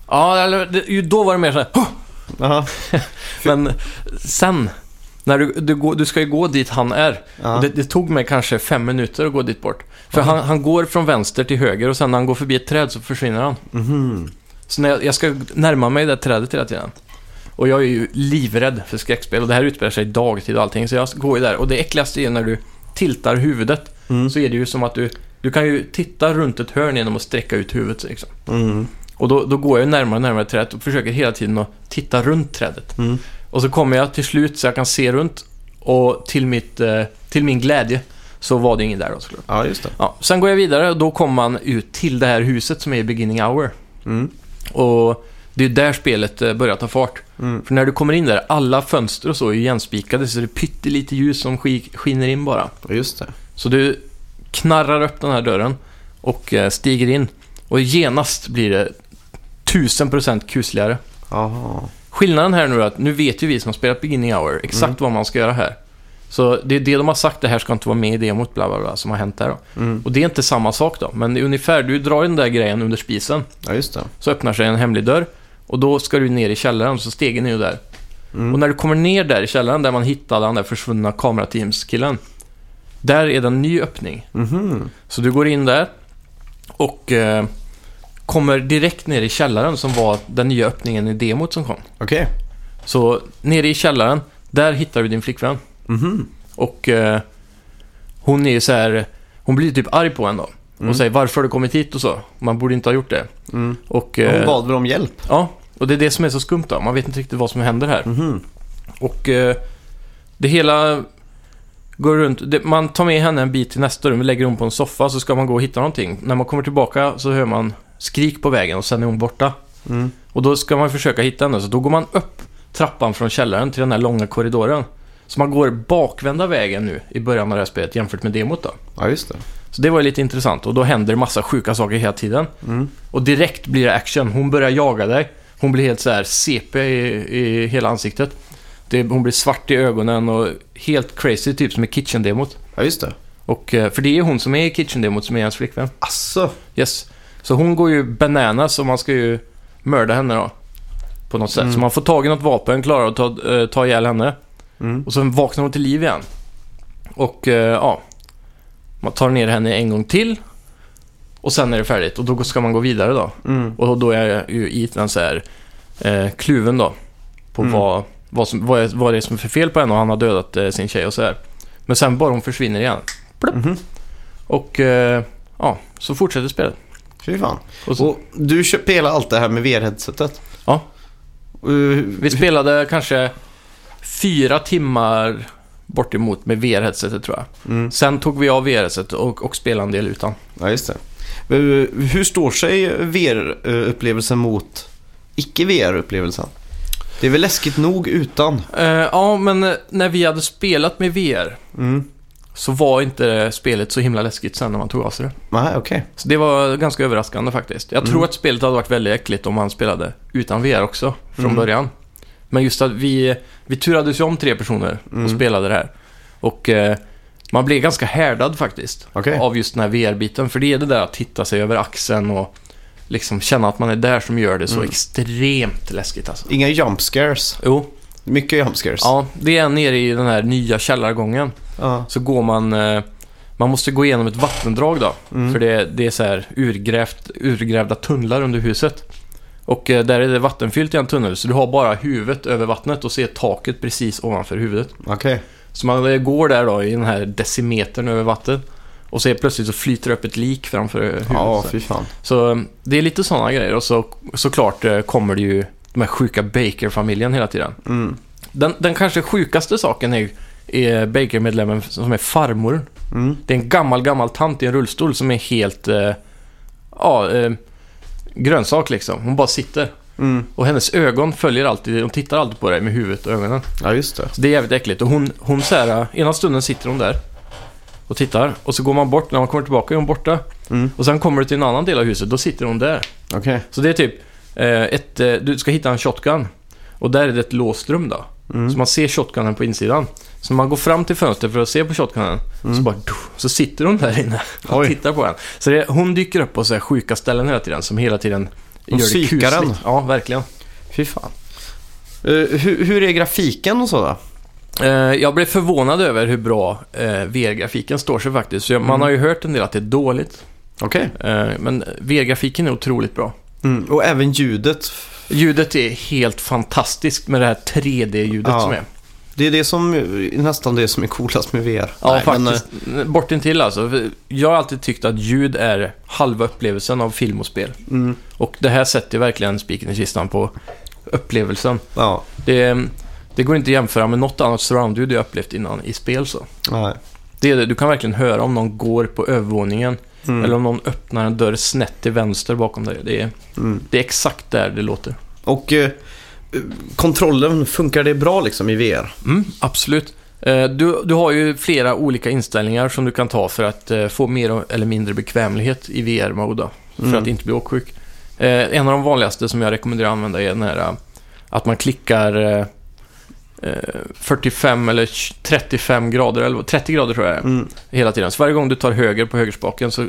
Speaker 2: Ja, eller det, ju då var det mer så här. "Huh!"
Speaker 1: Jaha.
Speaker 2: Men sen, när du, du, går, du ska ju gå dit han är.
Speaker 1: Ja.
Speaker 2: Och Det, det tog mig kanske fem minuter att gå dit bort. För han, han går från vänster till höger och sen när han går förbi ett träd så försvinner han.
Speaker 1: Mhm.
Speaker 2: Så när jag, jag ska närma mig det här trädet hela tiden. Och jag är ju livrädd för skräckspel och det här utspelar sig dagtid och allting. Så jag går ju där och det äckligaste är ju när du tiltar huvudet.
Speaker 1: Mm.
Speaker 2: Så är det ju som att du, du kan ju titta runt ett hörn genom att sträcka ut huvudet liksom.
Speaker 1: Mm.
Speaker 2: Och då, då går jag ju närmare och närmare trädet och försöker hela tiden att titta runt trädet.
Speaker 1: Mm.
Speaker 2: Och så kommer jag till slut så jag kan se runt och till, mitt, eh, till min glädje så var det ingen där då såklart.
Speaker 1: Ja, just det.
Speaker 2: Ja, sen går jag vidare och då kommer man ut till det här huset som är i beginning hour.
Speaker 1: Mm.
Speaker 2: Och det är där spelet eh, börjar ta fart.
Speaker 1: Mm.
Speaker 2: För när du kommer in där, alla fönster och så är ju igenspikade så det är pyttelite ljus som sk- skiner in bara.
Speaker 1: Ja, Just det.
Speaker 2: Så du knarrar upp den här dörren och eh, stiger in. Och genast blir det 1000% kusligare.
Speaker 1: Jaha.
Speaker 2: Skillnaden här nu är att nu vet ju vi som har spelat Beginning Hour exakt
Speaker 1: Mm.
Speaker 2: vad man ska göra här. Så det är det de har sagt, det här ska inte vara med i demot, bla bla bla, som har hänt där då.
Speaker 1: Mm.
Speaker 2: Och det är inte samma sak då, men det är ungefär, du drar den där grejen under spisen,
Speaker 1: Ja, just det.
Speaker 2: så öppnar sig en hemlig dörr och då ska du ner i källaren, så stegen är ju där.
Speaker 1: Mm.
Speaker 2: Och när du kommer ner där i källaren, där man hittade den där försvunna kamerateamskillen, där är det en ny öppning.
Speaker 1: Mhm.
Speaker 2: Så du går in där och eh, kommer direkt ner i källaren som var den nya öppningen i demot som kom.
Speaker 1: Okej.
Speaker 2: Så nere i källaren, där hittar du din flickvän.
Speaker 1: Mhm.
Speaker 2: Och eh, hon är ju så här, hon blir typ arg på en då. Och
Speaker 1: Mm.
Speaker 2: säger varför har du kommit hit och så. Man borde inte ha gjort det.
Speaker 1: Mm.
Speaker 2: Och,
Speaker 1: Hon
Speaker 2: eh,
Speaker 1: bad väl om hjälp?
Speaker 2: ja, och det är det som är så skumt då. Man vet inte riktigt vad som händer här.
Speaker 1: Mhm.
Speaker 2: Och eh, det hela går runt. Det, man tar med henne en bit till nästa rum, lägger hon på en soffa så ska man gå och hitta någonting. När man kommer tillbaka så hör man skrik på vägen och sen är hon borta.
Speaker 1: Mm.
Speaker 2: Och då ska man försöka hitta henne, så då går man upp trappan från källaren till den här långa korridoren. Så man går bakvända vägen nu i början av det här spelet jämfört med demot då.
Speaker 1: Ja, just det.
Speaker 2: Så det var ju lite intressant och då händer massa sjuka saker hela tiden.
Speaker 1: Mm.
Speaker 2: Och direkt blir det action. Hon börjar jaga dig. Hon blir helt så här CP i, i hela ansiktet. Det, hon blir svart i ögonen och helt crazy, typ som i Kitchen-demot.
Speaker 1: Ja, just det.
Speaker 2: Och, eh, för det är hon som är i Kitchen-demot som är hans flickvän.
Speaker 1: Asså.
Speaker 2: Yes. Så hon går ju bananas och man ska ju mörda henne då. På något sätt.
Speaker 1: Mm.
Speaker 2: Så man får tag i något vapen, klarar att ta, eh, ta ihjäl henne.
Speaker 1: Mm.
Speaker 2: Och sen vaknar hon till liv igen. Och eh, ja, man tar ner henne en gång till. Och sen är det färdigt och då ska man gå vidare då.
Speaker 1: Mm.
Speaker 2: Och då är jag ju i den så här eh, kluven då. På
Speaker 1: Mm.
Speaker 2: vad, vad, som, vad, är, vad det är som är för fel på henne och han har dödat eh, sin tjej och så här. Men sen bara hon försvinner igen.
Speaker 1: Mhm.
Speaker 2: Och eh, ja, så fortsätter spelet.
Speaker 1: Fy fan.
Speaker 2: Och så,
Speaker 1: Och du köpte hela allt det här med VR-headsetet?
Speaker 2: Ja.
Speaker 1: Uh,
Speaker 2: vi spelade kanske fyra timmar bort emot med VR-headsetet tror jag.
Speaker 1: mm.
Speaker 2: Sen tog vi av VR-headsetet och, och spelade en del utan.
Speaker 1: Ja, just det. Eh, Hur står sig VR-upplevelsen mot icke-VR-upplevelsen? Det är väl läskigt nog utan?
Speaker 2: Eh, ja, men eh, när vi hade spelat med VR
Speaker 1: Mm.
Speaker 2: så var inte eh, spelet så himla läskigt sen när man tog av sig det.
Speaker 1: Nej, okej.
Speaker 2: Så det var ganska överraskande faktiskt. Jag
Speaker 1: Mm.
Speaker 2: tror att spelet hade varit väldigt äckligt om man spelade utan VR också från
Speaker 1: Mm.
Speaker 2: början. Men just att vi, vi turades ju om tre personer och
Speaker 1: Mm.
Speaker 2: spelade det här. Och eh, man blev ganska härdad faktiskt
Speaker 1: Okej.
Speaker 2: av just den här VR-biten. För det är det där att titta sig över axeln och liksom känna att man är där som gör det så
Speaker 1: Mm.
Speaker 2: extremt läskigt alltså.
Speaker 1: Inga jump scares.
Speaker 2: Jo,
Speaker 1: Mycket jump scares.
Speaker 2: ja, det är nere i den här nya källargången.
Speaker 1: Ja.
Speaker 2: Så går man... eh, Man måste gå igenom ett vattendrag då.
Speaker 1: Mm.
Speaker 2: För det, det är så här urgrävt, urgrävda tunnlar under huset. Och eh, där är det vattenfyllt i en tunnel, så du har bara huvudet över vattnet och ser taket precis ovanför huvudet.
Speaker 1: Okej.
Speaker 2: Så man eh, går där då i den här decimetern över vattnet. Och så är plötsligt så flyter det upp ett lik framför eh, huvudet.
Speaker 1: Ja,
Speaker 2: så.
Speaker 1: fy fan.
Speaker 2: så eh, det är lite sådana grejer. Och så, såklart eh, kommer det ju de här sjuka Baker-familjen hela tiden.
Speaker 1: Mm.
Speaker 2: Den, den kanske sjukaste saken är, ju- är Baker-medlemmen som är farmor.
Speaker 1: Mm.
Speaker 2: Det är en gammal, gammal tant i en rullstol som är helt... Eh, ja, eh, grönsak ehm, liksom. Hon bara sitter.
Speaker 1: Mm.
Speaker 2: Och hennes ögon följer alltid, de tittar alltid på dig med huvudet och ögonen.
Speaker 1: Ja, just det.
Speaker 2: Så Alltså, det är jävligt äckligt. Och hon, hon så här, ena stunden sitter hon där och tittar. Och så går man bort, när man kommer tillbaka är hon borta.
Speaker 1: Mm.
Speaker 2: Och sen kommer du till en annan del av huset, då sitter hon där.
Speaker 1: Okej.
Speaker 2: Så det är typ, eh, ett, eh, du ska hitta en shotgun. Och där är det ett låst rum då.
Speaker 1: Mm.
Speaker 2: Så man ser shotgunen på insidan. Så när man går fram till fönstret för att se på shotgunen, så bara doff, så sitter hon där inne och
Speaker 1: Mm. Oj.
Speaker 2: tittar på en. Så det, hon dyker upp på så här sjuka ställen hela tiden, som hela tiden
Speaker 1: Hon
Speaker 2: gör det
Speaker 1: psykar
Speaker 2: kusligt.
Speaker 1: den.
Speaker 2: Ja, verkligen.
Speaker 1: Fy fan. Eh, hur, hur är grafiken och sådär?
Speaker 2: Eh, Jag blev förvånad över hur bra eh, VR-grafiken står sig faktiskt. Så jag,
Speaker 1: Mm.
Speaker 2: Man har ju hört en del att det är dåligt,
Speaker 1: Okej.
Speaker 2: eh, men VR-grafiken är otroligt bra.
Speaker 1: Mm. Och även ljudet.
Speaker 2: Ljudet är helt fantastiskt med det här 3D-ljudet
Speaker 1: Ja.
Speaker 2: som är.
Speaker 1: Det är det som, nästan det som är coolast med VR.
Speaker 2: Ja,
Speaker 1: Nej, men, eh,
Speaker 2: faktiskt. Bortintill alltså. För Jag har alltid tyckt att ljud är halva upplevelsen av film och spel.
Speaker 1: eh, mm,
Speaker 2: Och det här sätter ju verkligen spiken i kistan på upplevelsen.
Speaker 1: ja,
Speaker 2: Det, det går inte att jämföra med något annat surroundljud jag upplevt innan i spel så.
Speaker 1: nej.
Speaker 2: Det är det. Du kan verkligen höra om någon går på övervåningen
Speaker 1: Mm.
Speaker 2: eller om någon öppnar en dörr snett till vänster bakom dig. Det är,
Speaker 1: Mm.
Speaker 2: det är exakt där det låter.
Speaker 1: Och eh, kontrollen, funkar det bra liksom i VR?
Speaker 2: Mm, absolut. Eh, Du, du har ju flera olika inställningar som du kan ta för att eh, få mer eller mindre bekvämlighet i VR-mode. då, För
Speaker 1: Mm.
Speaker 2: att inte bli åksjuk. Eh, En av de vanligaste som jag rekommenderar att använda är den här eh, att man klickar eh, eh, 45 eller 35 grader, eller vad- 30 grader tror jag det är,
Speaker 1: Mm.
Speaker 2: hela tiden. Så varje gång du tar höger på högerspaken så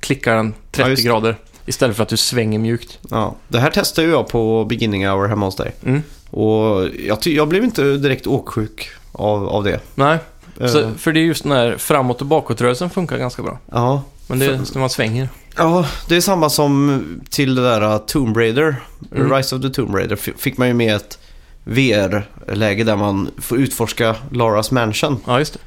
Speaker 2: klickar den 30
Speaker 1: just det.
Speaker 2: grader istället för att du svänger mjukt.
Speaker 1: Ja. Det här testade ju jag på beginning hour hemma hos dig.
Speaker 2: Mm.
Speaker 1: Och jag, ty- jag blev inte direkt åksjuk av, av det.
Speaker 2: Nej,
Speaker 1: Eh,
Speaker 2: så, för det är just den här framåt och bakåtrörelsen funkar ganska bra.
Speaker 1: ja.
Speaker 2: Men det är när man svänger.
Speaker 1: ja, det är samma som till det där eh, Tomb Raider,
Speaker 2: Mm.
Speaker 1: Rise of the Tomb Raider. F- fick man ju med ett VR-läge där man får utforska Laras mansion.
Speaker 2: Ja, just det.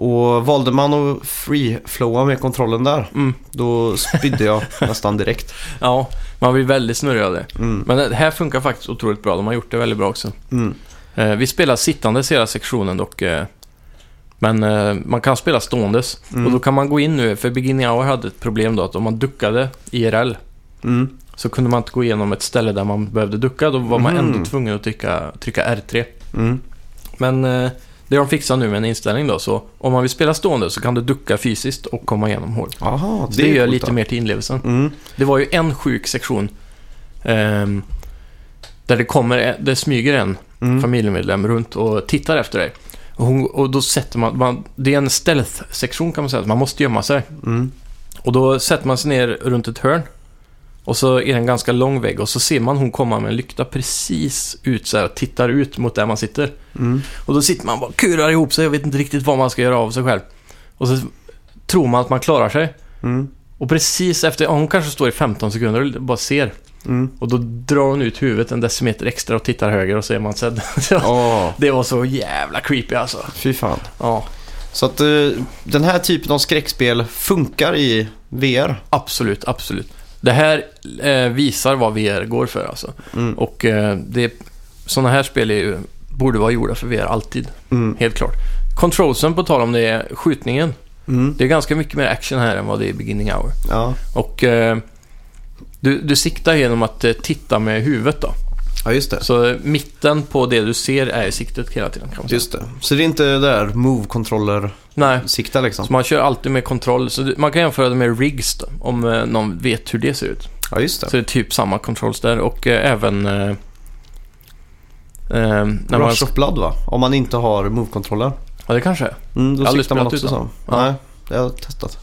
Speaker 1: Och valde man att free-flowa med kontrollen där,
Speaker 2: Mm.
Speaker 1: då spydde jag nästan direkt.
Speaker 2: Ja, man blir väldigt snurrig av det.
Speaker 1: Mm.
Speaker 2: Men det här funkar faktiskt otroligt bra. De har gjort det väldigt bra också.
Speaker 1: Mm.
Speaker 2: Eh, vi spelar sittandes hela sektionen dock. Eh, men eh, man kan spela ståendes.
Speaker 1: Mm.
Speaker 2: Och då kan man gå in nu, för Beginning Hour hade ett problem då att om man duckade IRL
Speaker 1: Mm.
Speaker 2: så kunde man inte gå igenom ett ställe där man behövde ducka. Då var man
Speaker 1: Mhm.
Speaker 2: ändå tvungen att trycka, trycka R3.
Speaker 1: Mm.
Speaker 2: Men eh, det har de fixat nu med en inställning då. Så om man vill spela stående så kan du ducka fysiskt och komma igenom hål.
Speaker 1: Aha,
Speaker 2: Så det,
Speaker 1: är
Speaker 2: gör
Speaker 1: coolt
Speaker 2: lite
Speaker 1: då.
Speaker 2: mer till inlevelsen.
Speaker 1: Mm.
Speaker 2: Det var ju en sjuk sektion. ehm, där det kommer, eh, det smyger en
Speaker 1: Mm.
Speaker 2: familjemedlem runt och tittar efter dig. Och, hon, och då sätter man, man, det är en stealth-sektion kan man säga, man måste gömma sig.
Speaker 1: Mm.
Speaker 2: Och då sätter man sig ner runt ett hörn. Och så är det en ganska lång vägg och så ser man hon komma med en lykta precis ut så här och tittar ut mot där man sitter.
Speaker 1: Mm.
Speaker 2: Och då sitter man och bara kurar ihop sig och vet inte riktigt vad man ska göra av sig själv. Och så tror man att man klarar sig.
Speaker 1: Mm.
Speaker 2: Och precis efter, ja, hon kanske står i 15 sekunder och bara ser.
Speaker 1: Mm.
Speaker 2: Och då drar hon ut huvudet en decimeter extra och tittar höger och så är man sedd. Så
Speaker 1: Åh,
Speaker 2: Det var så jävla creepy alltså.
Speaker 1: fy fan.
Speaker 2: Ja,
Speaker 1: Så att eh, den här typen av skräckspel funkar i VR.
Speaker 2: absolut, absolut. Det här eh, visar vad VR går för alltså.
Speaker 1: Mm.
Speaker 2: Och eh, det, sådana här spel är ju, borde vara gjorda för VR alltid,
Speaker 1: Mm.
Speaker 2: helt klart. Controlsen, på tal om det, skjutningen.
Speaker 1: Mm.
Speaker 2: Det är ganska mycket mer action här än vad det är i Beginning Hour.
Speaker 1: Ja.
Speaker 2: Och eh, du, du siktar genom att eh, titta med huvudet då.
Speaker 1: ja, just det.
Speaker 2: Så eh, mitten på det du ser är i siktet hela tiden kan man säga.
Speaker 1: Just det. Så det är inte det där move-controller-sikta
Speaker 2: Nej,
Speaker 1: liksom?
Speaker 2: så man kör alltid med kontroll. Så du, man kan jämföra det med rigs då, om eh, någon vet hur det ser ut.
Speaker 1: Ja, just det.
Speaker 2: Så det är typ samma controls där och eh, även... Eh, eh, när man,
Speaker 1: Rush of Blood va? Om man inte har move-controller.
Speaker 2: ja, det kanske är.
Speaker 1: Mm, då
Speaker 2: Jag har aldrig
Speaker 1: siktar man
Speaker 2: spelat
Speaker 1: också så.
Speaker 2: utan. Ja.
Speaker 1: Nej, det har jag testat.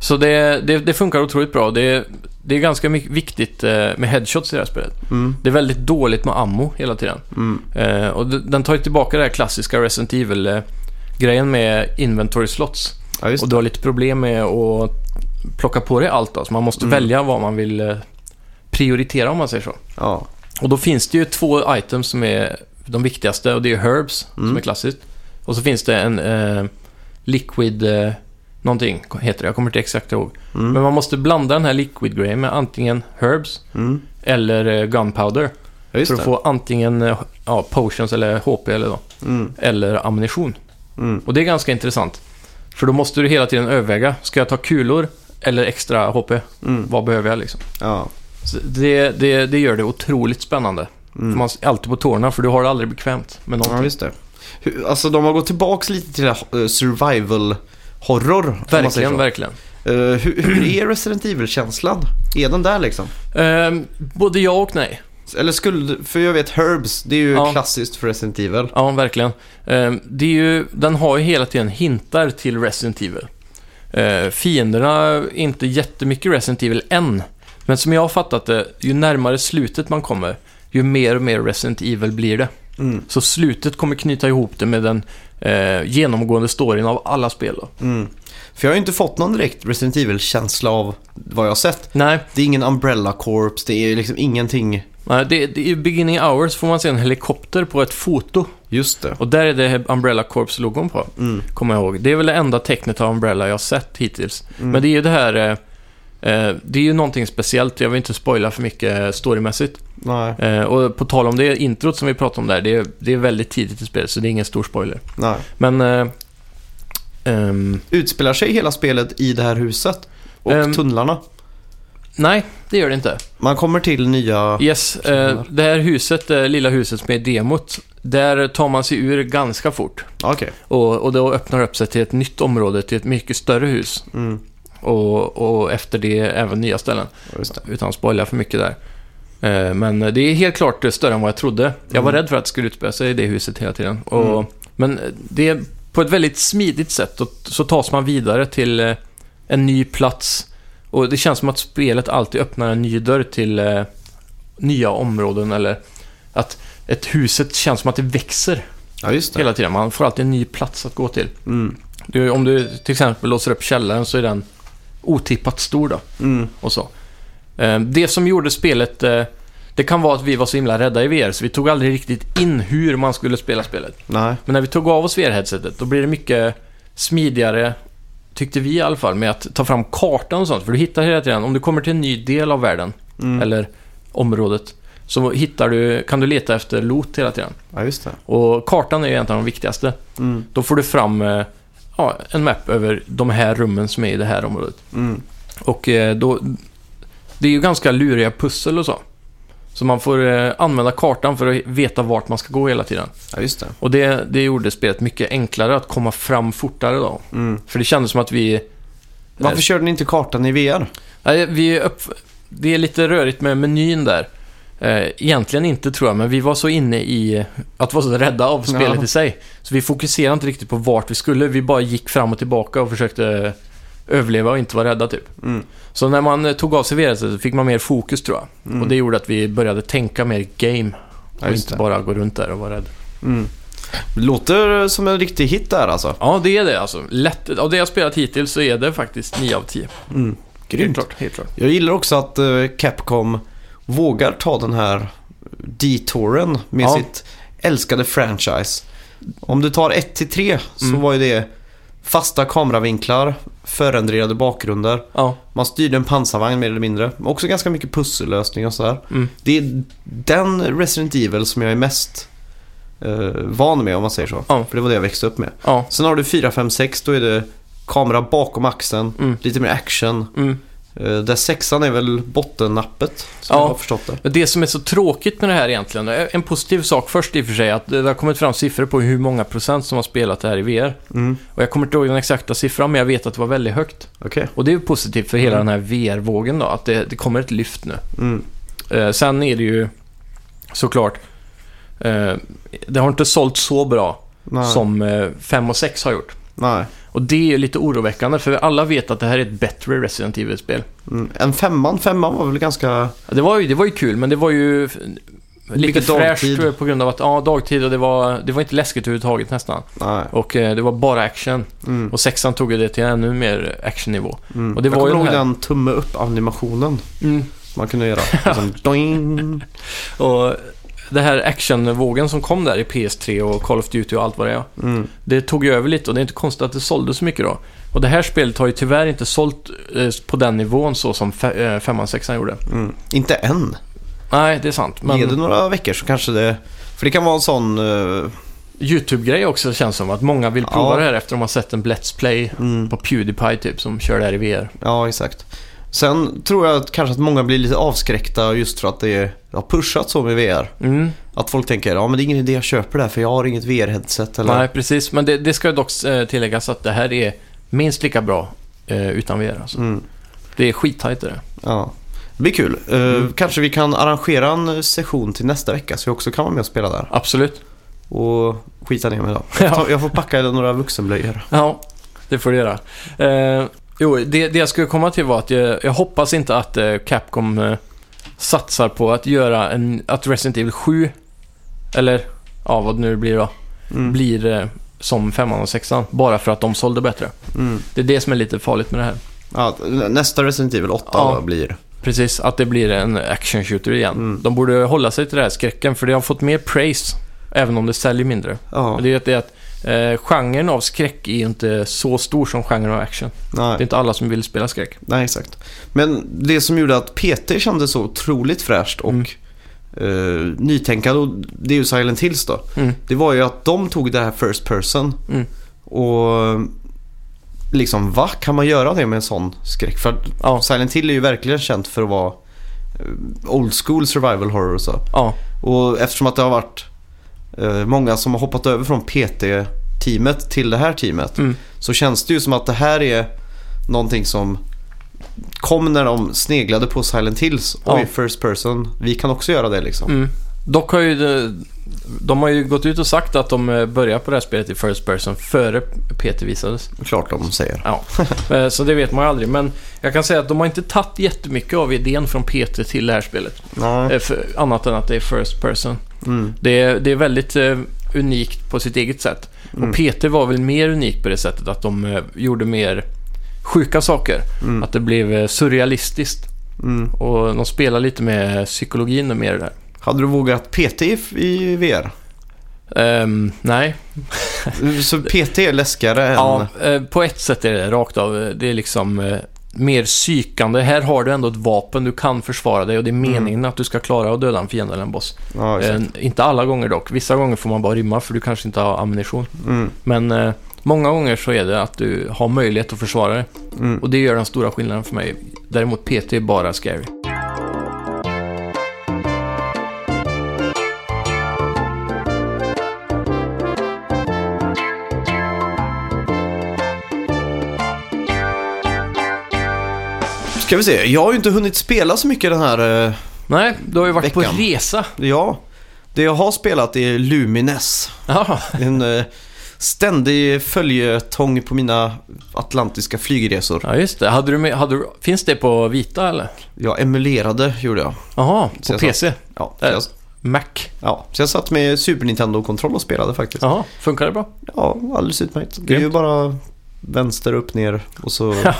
Speaker 2: Så det, det, det funkar otroligt bra. Det, det är ganska mycket viktigt eh, med headshots i det här spelet.
Speaker 1: Mm.
Speaker 2: Det är väldigt dåligt med ammo hela tiden.
Speaker 1: Mm.
Speaker 2: Eh, och d- den tar ju tillbaka det här klassiska Resident Evil-grejen med inventory slots.
Speaker 1: Ja, just
Speaker 2: Och du har lite problem med att plocka på dig allt. Då. Så man måste
Speaker 1: Mm.
Speaker 2: välja vad man vill eh, prioritera om man säger så.
Speaker 1: Ja.
Speaker 2: Och då finns det ju två items som är de viktigaste och det är herbs
Speaker 1: Mm.
Speaker 2: som är klassiskt. Och så finns det en eh, liquid eh, någonting heter det, jag kommer inte exakt ihåg.
Speaker 1: Mm.
Speaker 2: Men man måste blanda den här liquid-grejen med antingen herbs
Speaker 1: Mm.
Speaker 2: eller eh, gunpowder.
Speaker 1: Ja, just
Speaker 2: för att
Speaker 1: det.
Speaker 2: få antingen eh, ja, potions eller HP eller, då,
Speaker 1: Mm.
Speaker 2: eller ammunition.
Speaker 1: Mm.
Speaker 2: Och det är ganska intressant. För då måste du hela tiden överväga, ska jag ta kulor eller extra HP?
Speaker 1: Mm.
Speaker 2: Vad behöver jag liksom?
Speaker 1: Ja.
Speaker 2: Så Det, det, det gör det otroligt spännande. För man är alltid på tårna för du har det aldrig bekvämt med
Speaker 1: Mm. Ja,
Speaker 2: någonting.
Speaker 1: just det. Hur- Alltså de har gått tillbaks lite till eh, survival horror. om man säger
Speaker 2: verkligen,
Speaker 1: så.
Speaker 2: verkligen.
Speaker 1: Eh, hur, hur är Resident Evil-känslan? Är den där liksom?
Speaker 2: Ehm, både ja och nej.
Speaker 1: Eller skulle du- för jag vet Herbs, det är ju
Speaker 2: Ja.
Speaker 1: klassiskt för Resident Evil.
Speaker 2: Ja, verkligen. Ehm, det är ju, den har ju hela tiden hintar till Resident Evil. Ehm, fienderna är inte jättemycket Resident Evil än. Men som jag har fattat det, ju närmare slutet man kommer, ju mer och mer Resident Evil blir det.
Speaker 1: Mm.
Speaker 2: Så slutet kommer knyta ihop det med den eh, genomgående storyn av alla spel. Då.
Speaker 1: Mm. För jag har ju inte fått någon direkt Resident Evil-känsla av vad jag har sett.
Speaker 2: Nej,
Speaker 1: Det är ingen Umbrella Corps, det är liksom ingenting.
Speaker 2: nej, det, det, i Beginning Hours får man se en helikopter på ett foto.
Speaker 1: Just det.
Speaker 2: Och där är det Umbrella Corps-logon på.
Speaker 1: Mm.
Speaker 2: kommer jag ihåg. Det är väl det enda tecknet av Umbrella jag har sett hittills.
Speaker 1: Mm.
Speaker 2: Men det är ju det här... eh, eh, Det är ju någonting speciellt, jag vill inte spoila för mycket eh, storymässigt.
Speaker 1: Nej,
Speaker 2: Eh, Och på tal om det introt som vi pratade om där, det är, det är väldigt tidigt i spelet så det är ingen stor spoiler.
Speaker 1: nej.
Speaker 2: Men... eh, ehm,
Speaker 1: Utspelar sig hela spelet i det här huset? Och
Speaker 2: Ehm.
Speaker 1: tunnlarna?
Speaker 2: nej, det gör det inte.
Speaker 1: Man kommer till nya...
Speaker 2: Yes, eh, det här huset, det lilla huset som är demot, där tar man sig ur ganska fort.
Speaker 1: Okej.
Speaker 2: Och, och då öppnar det upp sig till ett nytt område, till ett mycket större hus.
Speaker 1: Mm.
Speaker 2: Och, och efter det även nya ställen.
Speaker 1: Ja, Just det.
Speaker 2: utan att spoila för mycket där. Eh, Men det är helt klart större än vad jag trodde. Jag var rädd för att det skulle utspela sig i det huset hela tiden. Och,
Speaker 1: Mm.
Speaker 2: Men det är på ett väldigt smidigt sätt och så tas man vidare till eh, en ny plats. Och det känns som att spelet alltid öppnar en ny dörr till eh, nya områden eller att ett huset känns som att det växer
Speaker 1: Ja, just det.
Speaker 2: hela tiden. Man får alltid en ny plats att gå till.
Speaker 1: Mm.
Speaker 2: Du, om du till exempel låser upp källaren så är den otippat stor då
Speaker 1: Mm.
Speaker 2: och så. Eh, Det som gjorde spelet... eh, Det kan vara att vi var så himla rädda i VR, så vi tog aldrig riktigt in hur man skulle spela spelet.
Speaker 1: Nej.
Speaker 2: Men när vi tog av oss VR-headsetet, då blir det mycket smidigare, tyckte vi i alla fall, med att ta fram kartan och sånt. För du hittar hela tiden, om du kommer till en ny del av världen,
Speaker 1: Mm.
Speaker 2: eller området, så hittar du, kan du leta efter loot hela tiden.
Speaker 1: Ja, just det.
Speaker 2: Och kartan är ju egentligen den viktigaste.
Speaker 1: Mm.
Speaker 2: Då får du fram eh, ja, en map över de här rummen som är i det här området.
Speaker 1: Mm.
Speaker 2: Och eh, då... Det är ju ganska luriga pussel och så. Så man får eh, använda kartan för att veta vart man ska gå hela tiden.
Speaker 1: Ja, just det.
Speaker 2: Och det, det gjorde spelet mycket enklare att komma fram fortare då.
Speaker 1: Mm.
Speaker 2: För det kändes som att vi...
Speaker 1: Varför körde ni inte kartan i VR?
Speaker 2: Nej, vi är upp, det är lite rörigt med menyn där. Eh, Egentligen inte tror jag, men vi var så inne i att vara så rädda av
Speaker 1: Ja.
Speaker 2: spelet i sig. Så vi fokuserade inte riktigt på vart vi skulle. Vi bara gick fram och tillbaka och försökte överleva och inte vara rädda typ.
Speaker 1: Mm.
Speaker 2: Så när man eh, tog av sig VR så fick man mer fokus tror jag.
Speaker 1: Mm.
Speaker 2: Och det gjorde att vi började tänka mer game.
Speaker 1: Ja,
Speaker 2: och
Speaker 1: just
Speaker 2: inte
Speaker 1: det.
Speaker 2: bara gå runt där och vara rädd.
Speaker 1: Mm. Låter som en riktig hit där alltså.
Speaker 2: Ja, det är det alltså. Lätt. Av det jag spelat hittills så är det faktiskt 9 av 10.
Speaker 1: Mm.
Speaker 2: Helt
Speaker 1: Grymt.
Speaker 2: klart. Helt klart.
Speaker 1: Jag gillar också att eh, Capcom vågar ta den här detouren med
Speaker 2: Ja.
Speaker 1: sitt älskade franchise. Om du tar 1 till 3 så
Speaker 2: Mm.
Speaker 1: var ju det fasta kameravinklar, förändrade bakgrunder.
Speaker 2: Ja,
Speaker 1: Man styrde en pansarvagn mer eller mindre. Men Också ganska mycket pussellösning och sådär.
Speaker 2: Mm.
Speaker 1: Det är den Resident Evil som jag är mest eh, van med om man säger så.
Speaker 2: Ja.
Speaker 1: För det var det jag växte upp med.
Speaker 2: ja.
Speaker 1: Sen har du 4, 5, 6. Då är det kamera bakom axeln.
Speaker 2: Mm.
Speaker 1: Lite mer action.
Speaker 2: Mm.
Speaker 1: Eh, där sexan är väl bottennappet, som
Speaker 2: Ja.
Speaker 1: jag har förstått det.
Speaker 2: Men Det som är så tråkigt med det här egentligen, eh, en positiv sak först i och för sig, att det har kommit fram siffror på hur många procent som har spelat det här i VR.
Speaker 1: Mm.
Speaker 2: Och jag kommer inte ihåg den exakta siffran, men jag vet att det var väldigt högt.
Speaker 1: Okej.
Speaker 2: Och det är ju positivt för hela den här VR-vågen då, att det, det kommer ett lyft nu.
Speaker 1: Mm.
Speaker 2: Eh, sen är det ju såklart, eh, det har inte sålt så bra
Speaker 1: Nej.
Speaker 2: som 5 och 6 har gjort.
Speaker 1: Nej.
Speaker 2: Och det är ju lite oroväckande, för alla vet att det här är ett bättre Resident Evil-spel.
Speaker 1: Mm. En femman, femman var väl ganska...
Speaker 2: Ja, Det var ju, det var ju kul, men det var ju f- lite
Speaker 1: Mycket
Speaker 2: fräscht
Speaker 1: dagtid.
Speaker 2: eh, på grund av att, ja, dagtid och det var, det var inte läskigt överhuvudtaget nästan.
Speaker 1: Nej.
Speaker 2: Och eh, det var bara action.
Speaker 1: Mm.
Speaker 2: Och sexan tog ju det till en ännu mer actionnivå.
Speaker 1: Mm.
Speaker 2: och det
Speaker 1: jag
Speaker 2: var ju
Speaker 1: kommer ihåg
Speaker 2: den här-
Speaker 1: den tumme upp-animationen
Speaker 2: Mm.
Speaker 1: man kunde göra. Liksom, doing.
Speaker 2: Och det här actionvågen som kom där i PS3 och Call of Duty och allt vad det är.
Speaker 1: Mm.
Speaker 2: Det tog ju över lite och det är inte konstigt att det sålde så mycket då. Och det här spelet har ju tyvärr inte sålt eh, på den nivån så som fe- eh, femman, sexan gjorde.
Speaker 1: Mm. Inte än.
Speaker 2: Nej, det är sant.
Speaker 1: Ge det
Speaker 2: Men
Speaker 1: några veckor så kanske det... För det kan vara en sån... eh,
Speaker 2: YouTube-grej också känns som att många vill prova
Speaker 1: Ja.
Speaker 2: det här efter att de har sett en Let's Play
Speaker 1: mm,
Speaker 2: på Pewdiepie typ som kör det här i VR.
Speaker 1: ja, exakt. Sen tror jag att kanske att många blir lite avskräckta just för att det är- det har pushat så med VR.
Speaker 2: Mm.
Speaker 1: Att folk tänker ja men det är ingen idé jag köper det här för jag har inget VR-headset eller...
Speaker 2: Nej, precis. Men det, det ska dock eh, tilläggas att det här är minst lika bra eh, utan VR. Alltså.
Speaker 1: Mm,
Speaker 2: Det är skittajt det där.
Speaker 1: ja. Det blir kul. Eh,
Speaker 2: Mm.
Speaker 1: Kanske vi kan arrangera en session till nästa vecka så jag också kan vara med och spela där.
Speaker 2: Absolut.
Speaker 1: Och skita ner mig då. Jag får, ta, jag får packa några vuxenblöjor.
Speaker 2: Ja, det får du göra. Eh, jo, det, det jag skulle komma till var att jag, jag hoppas inte att eh, Capcom eh, satsar på att göra en, att Resident Evil 7, eller ja, vad det nu blir då,
Speaker 1: Mm.
Speaker 2: blir eh, som femman och sexan. Bara för att de sålde bättre.
Speaker 1: Mm.
Speaker 2: Det är det som är lite farligt med det här.
Speaker 1: Ja, nästa Resident Evil 8
Speaker 2: Ja.
Speaker 1: då blir.
Speaker 2: Precis, att det blir en action shooter igen.
Speaker 1: Mm.
Speaker 2: De borde hålla sig till den här skräcken, för det har fått mer praise, även om det säljer mindre.
Speaker 1: Ja.
Speaker 2: Men Det är ju att, det är att eh, genren av skräck är ju inte så stor som genren av action. Det är
Speaker 1: Nej.
Speaker 2: inte alla som vill spela skräck.
Speaker 1: Nej, exakt. Men det som gjorde att PT kändes så otroligt fräscht och
Speaker 2: Mm.
Speaker 1: eh, nytänkande, och det är ju Silent Hills då.
Speaker 2: Mm.
Speaker 1: Det var ju att de tog det här First Person
Speaker 2: Mm.
Speaker 1: och liksom va? Kan man göra det med en sån skräck? För att
Speaker 2: Ja,
Speaker 1: Silent Hill är ju verkligen känt för att vara eh, old school survival horror och så.
Speaker 2: ja,
Speaker 1: Och eftersom att det har varit eh, många som har hoppat över från PT-teamet till det här teamet
Speaker 2: Mm.
Speaker 1: så känns det ju som att det här är någonting som kom när de sneglade på Silent Hills.
Speaker 2: Ja.
Speaker 1: Oj, first person. Vi kan också göra det liksom.
Speaker 2: mm. Dock har ju de, de har ju gått ut och sagt att de eh, börjar på det här spelet i First Person före PT visades.
Speaker 1: Klart de säger.
Speaker 2: Ja, Eh, så det vet man ju aldrig. Men jag kan säga att de har inte tagit jättemycket av idén från PT till det här spelet.
Speaker 1: Ja.
Speaker 2: Eh, För, annat än att det är First Person.
Speaker 1: Mm.
Speaker 2: Det är, det är väldigt eh, unikt på sitt eget sätt.
Speaker 1: Mm.
Speaker 2: Och PT var väl mer unikt på det sättet att de eh, gjorde mer sjuka saker.
Speaker 1: Mm.
Speaker 2: Att det blev eh, surrealistiskt.
Speaker 1: Mm.
Speaker 2: Och de spelar lite med psykologin och mer där.
Speaker 1: Hade du vågat PT i, i VR?
Speaker 2: Ehm, nej.
Speaker 1: Så PT är läskigare än...
Speaker 2: Ja, eh, på ett sätt är det rakt av. Det är liksom eh, mer psykande. Här har du ändå ett vapen, du kan försvara dig och det är meningen att du ska klara att döda en fiende eller en boss.
Speaker 1: Mm. Ja, exakt.
Speaker 2: Eh, inte alla gånger dock. Vissa gånger får man bara rymma för du kanske inte har ammunition.
Speaker 1: Mm.
Speaker 2: Men eh, många gånger så är det att du har möjlighet att försvara dig.
Speaker 1: Mm.
Speaker 2: Och det gör den stora skillnaden för mig. Däremot PT är bara scary.
Speaker 1: Ska vi se. Jag har ju inte hunnit spela så mycket den här... eh,
Speaker 2: Nej, du har ju varit
Speaker 1: Veckan.
Speaker 2: på resa.
Speaker 1: Ja. Det jag har spelat är Lumines.
Speaker 2: Ja,
Speaker 1: En eh, ständig följetong på mina atlantiska flygresor.
Speaker 2: ja just det. Hade du med, hade du, finns det på vita eller?
Speaker 1: Jag emulerade, gjorde jag.
Speaker 2: Jaha,
Speaker 1: Så
Speaker 2: på
Speaker 1: jag
Speaker 2: PC?
Speaker 1: Ja, så jag,
Speaker 2: Mac?
Speaker 1: ja, så jag satt med Super Nintendo-kontroll och spelade faktiskt.
Speaker 2: Jaha, funkar det bra?
Speaker 1: Ja, alldeles utmärkt. Det är ju
Speaker 2: Grymt.
Speaker 1: bara vänster, upp, ner och så...
Speaker 2: Ja.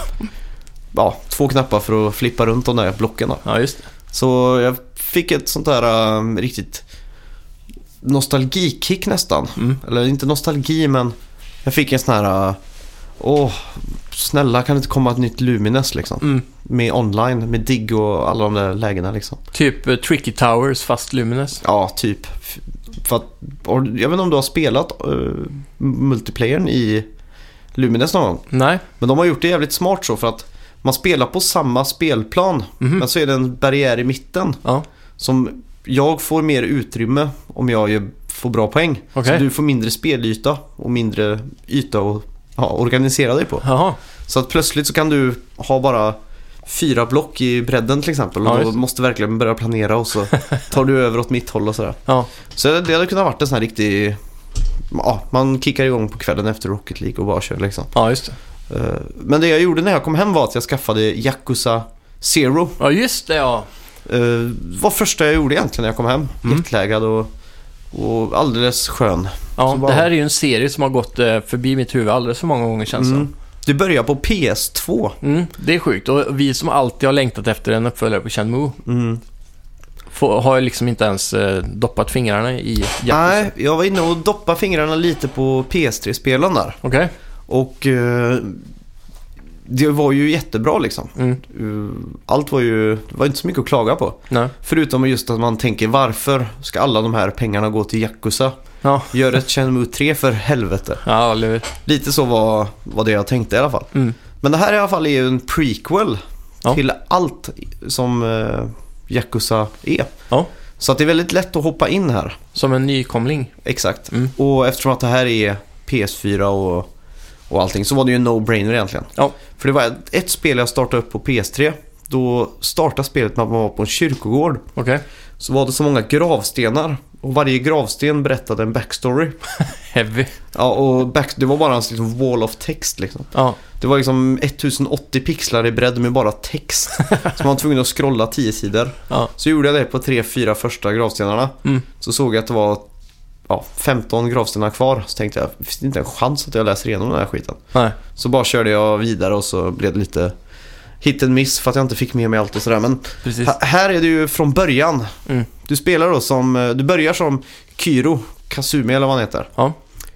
Speaker 1: Ja, två knappar för att flippa runt de där blocken. Då.
Speaker 2: Ja, just det.
Speaker 1: Så jag fick ett sånt där eh, riktigt nostalgikick nästan.
Speaker 2: Mm.
Speaker 1: Eller inte nostalgi men jag fick en sån här... eh, Åh, snälla kan det inte komma ett nytt Lumines liksom?
Speaker 2: Mm.
Speaker 1: Med online, med digg och alla de där lägena liksom.
Speaker 2: Typ eh, Tricky Towers fast Lumines.
Speaker 1: Ja, typ. F- För att, och jag vet inte om du har spelat eh, multiplayern i Lumines någon gång.
Speaker 2: Nej,
Speaker 1: Men de har gjort det jävligt smart så för att man spelar på samma spelplan.
Speaker 2: Mhm.
Speaker 1: Men så är det en barriär i mitten
Speaker 2: ja.
Speaker 1: som jag får mer utrymme om jag gör- får bra poäng.
Speaker 2: Okej.
Speaker 1: Så du får mindre spelyta och mindre yta att ja, organisera dig på.
Speaker 2: Jaha,
Speaker 1: Så att plötsligt så kan du ha bara fyra block i bredden till exempel.
Speaker 2: Ja,
Speaker 1: Och då
Speaker 2: just det.
Speaker 1: måste du verkligen börja planera och så tar du över åt mitt håll och sådär.
Speaker 2: ja.
Speaker 1: Så det hade kunnat varit en sån här riktig... Ja, man kickar igång på kvällen efter Rocket League och bara kör liksom.
Speaker 2: ja, just det.
Speaker 1: Eh, Men det jag gjorde när jag kom hem var att jag skaffade Yakuza Zero.
Speaker 2: Ja, just det ja.
Speaker 1: Uh, var första jag gjorde egentligen när jag kom hem.
Speaker 2: Mm.
Speaker 1: Jetlaggad och, och alldeles skön.
Speaker 2: ja
Speaker 1: Så bara-
Speaker 2: Det här är ju en serie som har gått eh, förbi mitt huvud alldeles för många gånger känns det
Speaker 1: Mm. Du börjar på PS2.
Speaker 2: Mm, det är sjukt. Och vi som alltid har längtat efter en uppföljare på Shenmue
Speaker 1: Mm.
Speaker 2: får, har ju liksom inte ens eh, doppat fingrarna i Yakuza.
Speaker 1: Nej, jag var inne och doppade fingrarna lite på PS3-spelen där.
Speaker 2: Okej.
Speaker 1: Och eh, det var ju jättebra liksom.
Speaker 2: Mm.
Speaker 1: Eh, Allt var ju, det var inte så mycket att klaga på.
Speaker 2: Nej.
Speaker 1: Förutom just att man tänker varför ska alla de här pengarna gå till Yakuza?
Speaker 2: Ja.
Speaker 1: Gör ett Shenmue 3 för helvete.
Speaker 2: Ja, eller hur?
Speaker 1: Lite så var, var det jag tänkte i alla fall.
Speaker 2: Mm.
Speaker 1: Men det här i alla fall är ju en prequel
Speaker 2: Ja.
Speaker 1: till allt som eh, Yakuza är.
Speaker 2: Ja.
Speaker 1: Så att det är väldigt lätt att hoppa in här.
Speaker 2: Som en nykomling.
Speaker 1: Exakt.
Speaker 2: Mm.
Speaker 1: Och eftersom att det här är PS4 och, och allting så var det ju en no-brainer egentligen.
Speaker 2: Ja.
Speaker 1: För det var ett, ett spel jag startade upp på PS3. Då startade spelet med att man var på en kyrkogård.
Speaker 2: Okej.
Speaker 1: Så var det så många gravstenar. Och varje gravsten berättade en backstory.
Speaker 2: Heavy.
Speaker 1: Ja, och back, det var bara en liksom wall of text liksom.
Speaker 2: Ja.
Speaker 1: Det var liksom 1080 pixlar i bredd med bara text. Så man var tvungen att scrolla 10 sidor.
Speaker 2: Ja.
Speaker 1: Så gjorde jag det på 3-4 första gravstenarna.
Speaker 2: Mm.
Speaker 1: Så såg jag att det var ja, 15 gravstenar kvar. Så tänkte jag, finns det inte en chans att jag läser igenom den här skiten?
Speaker 2: Nej.
Speaker 1: Så bara körde jag vidare och så blev det lite hit and miss för att jag inte fick med mig allt och sådär. Men
Speaker 2: Precis.
Speaker 1: här- här är det ju från början.
Speaker 2: Mm.
Speaker 1: Du spelar då som, eh, du börjar som Kyro Kazumi eller vad han heter.
Speaker 2: Ja.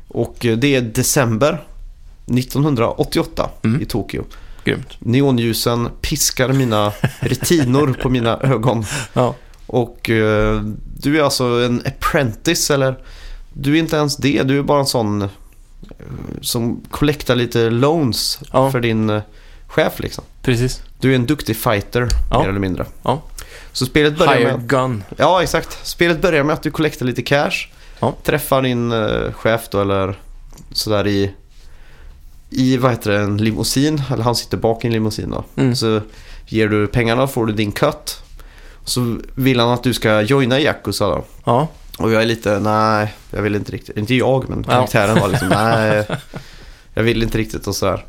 Speaker 1: Och eh, det är december 1988
Speaker 2: Mm.
Speaker 1: i Tokyo.
Speaker 2: Grymt.
Speaker 1: Neonljusen piskar mina retinor på mina ögon.
Speaker 2: Ja.
Speaker 1: Och eh, du är alltså en apprentice eller du är inte ens det. Du är bara en sån eh, som collectar lite loans
Speaker 2: Ja.
Speaker 1: för din eh, chef liksom.
Speaker 2: Precis.
Speaker 1: Du är en duktig fighter
Speaker 2: Ja.
Speaker 1: mer eller mindre.
Speaker 2: Ja.
Speaker 1: Så spelet börjar
Speaker 2: Higher
Speaker 1: med...
Speaker 2: gun.
Speaker 1: Ja, exakt. Spelet börjar med att du collectar lite cash.
Speaker 2: Ja.
Speaker 1: Träffar din eh, chef då eller sådär i... I vad heter det, en limousin. Eller han sitter bak i en limousin då.
Speaker 2: Mm.
Speaker 1: Så ger du pengarna får du din cut. Så vill han att du ska joina Yakuza då.
Speaker 2: Ja.
Speaker 1: Och jag är lite, nej, jag vill inte riktigt. Inte jag, men
Speaker 2: Ja.
Speaker 1: karaktären var liksom, nej, jag vill inte riktigt och sådär.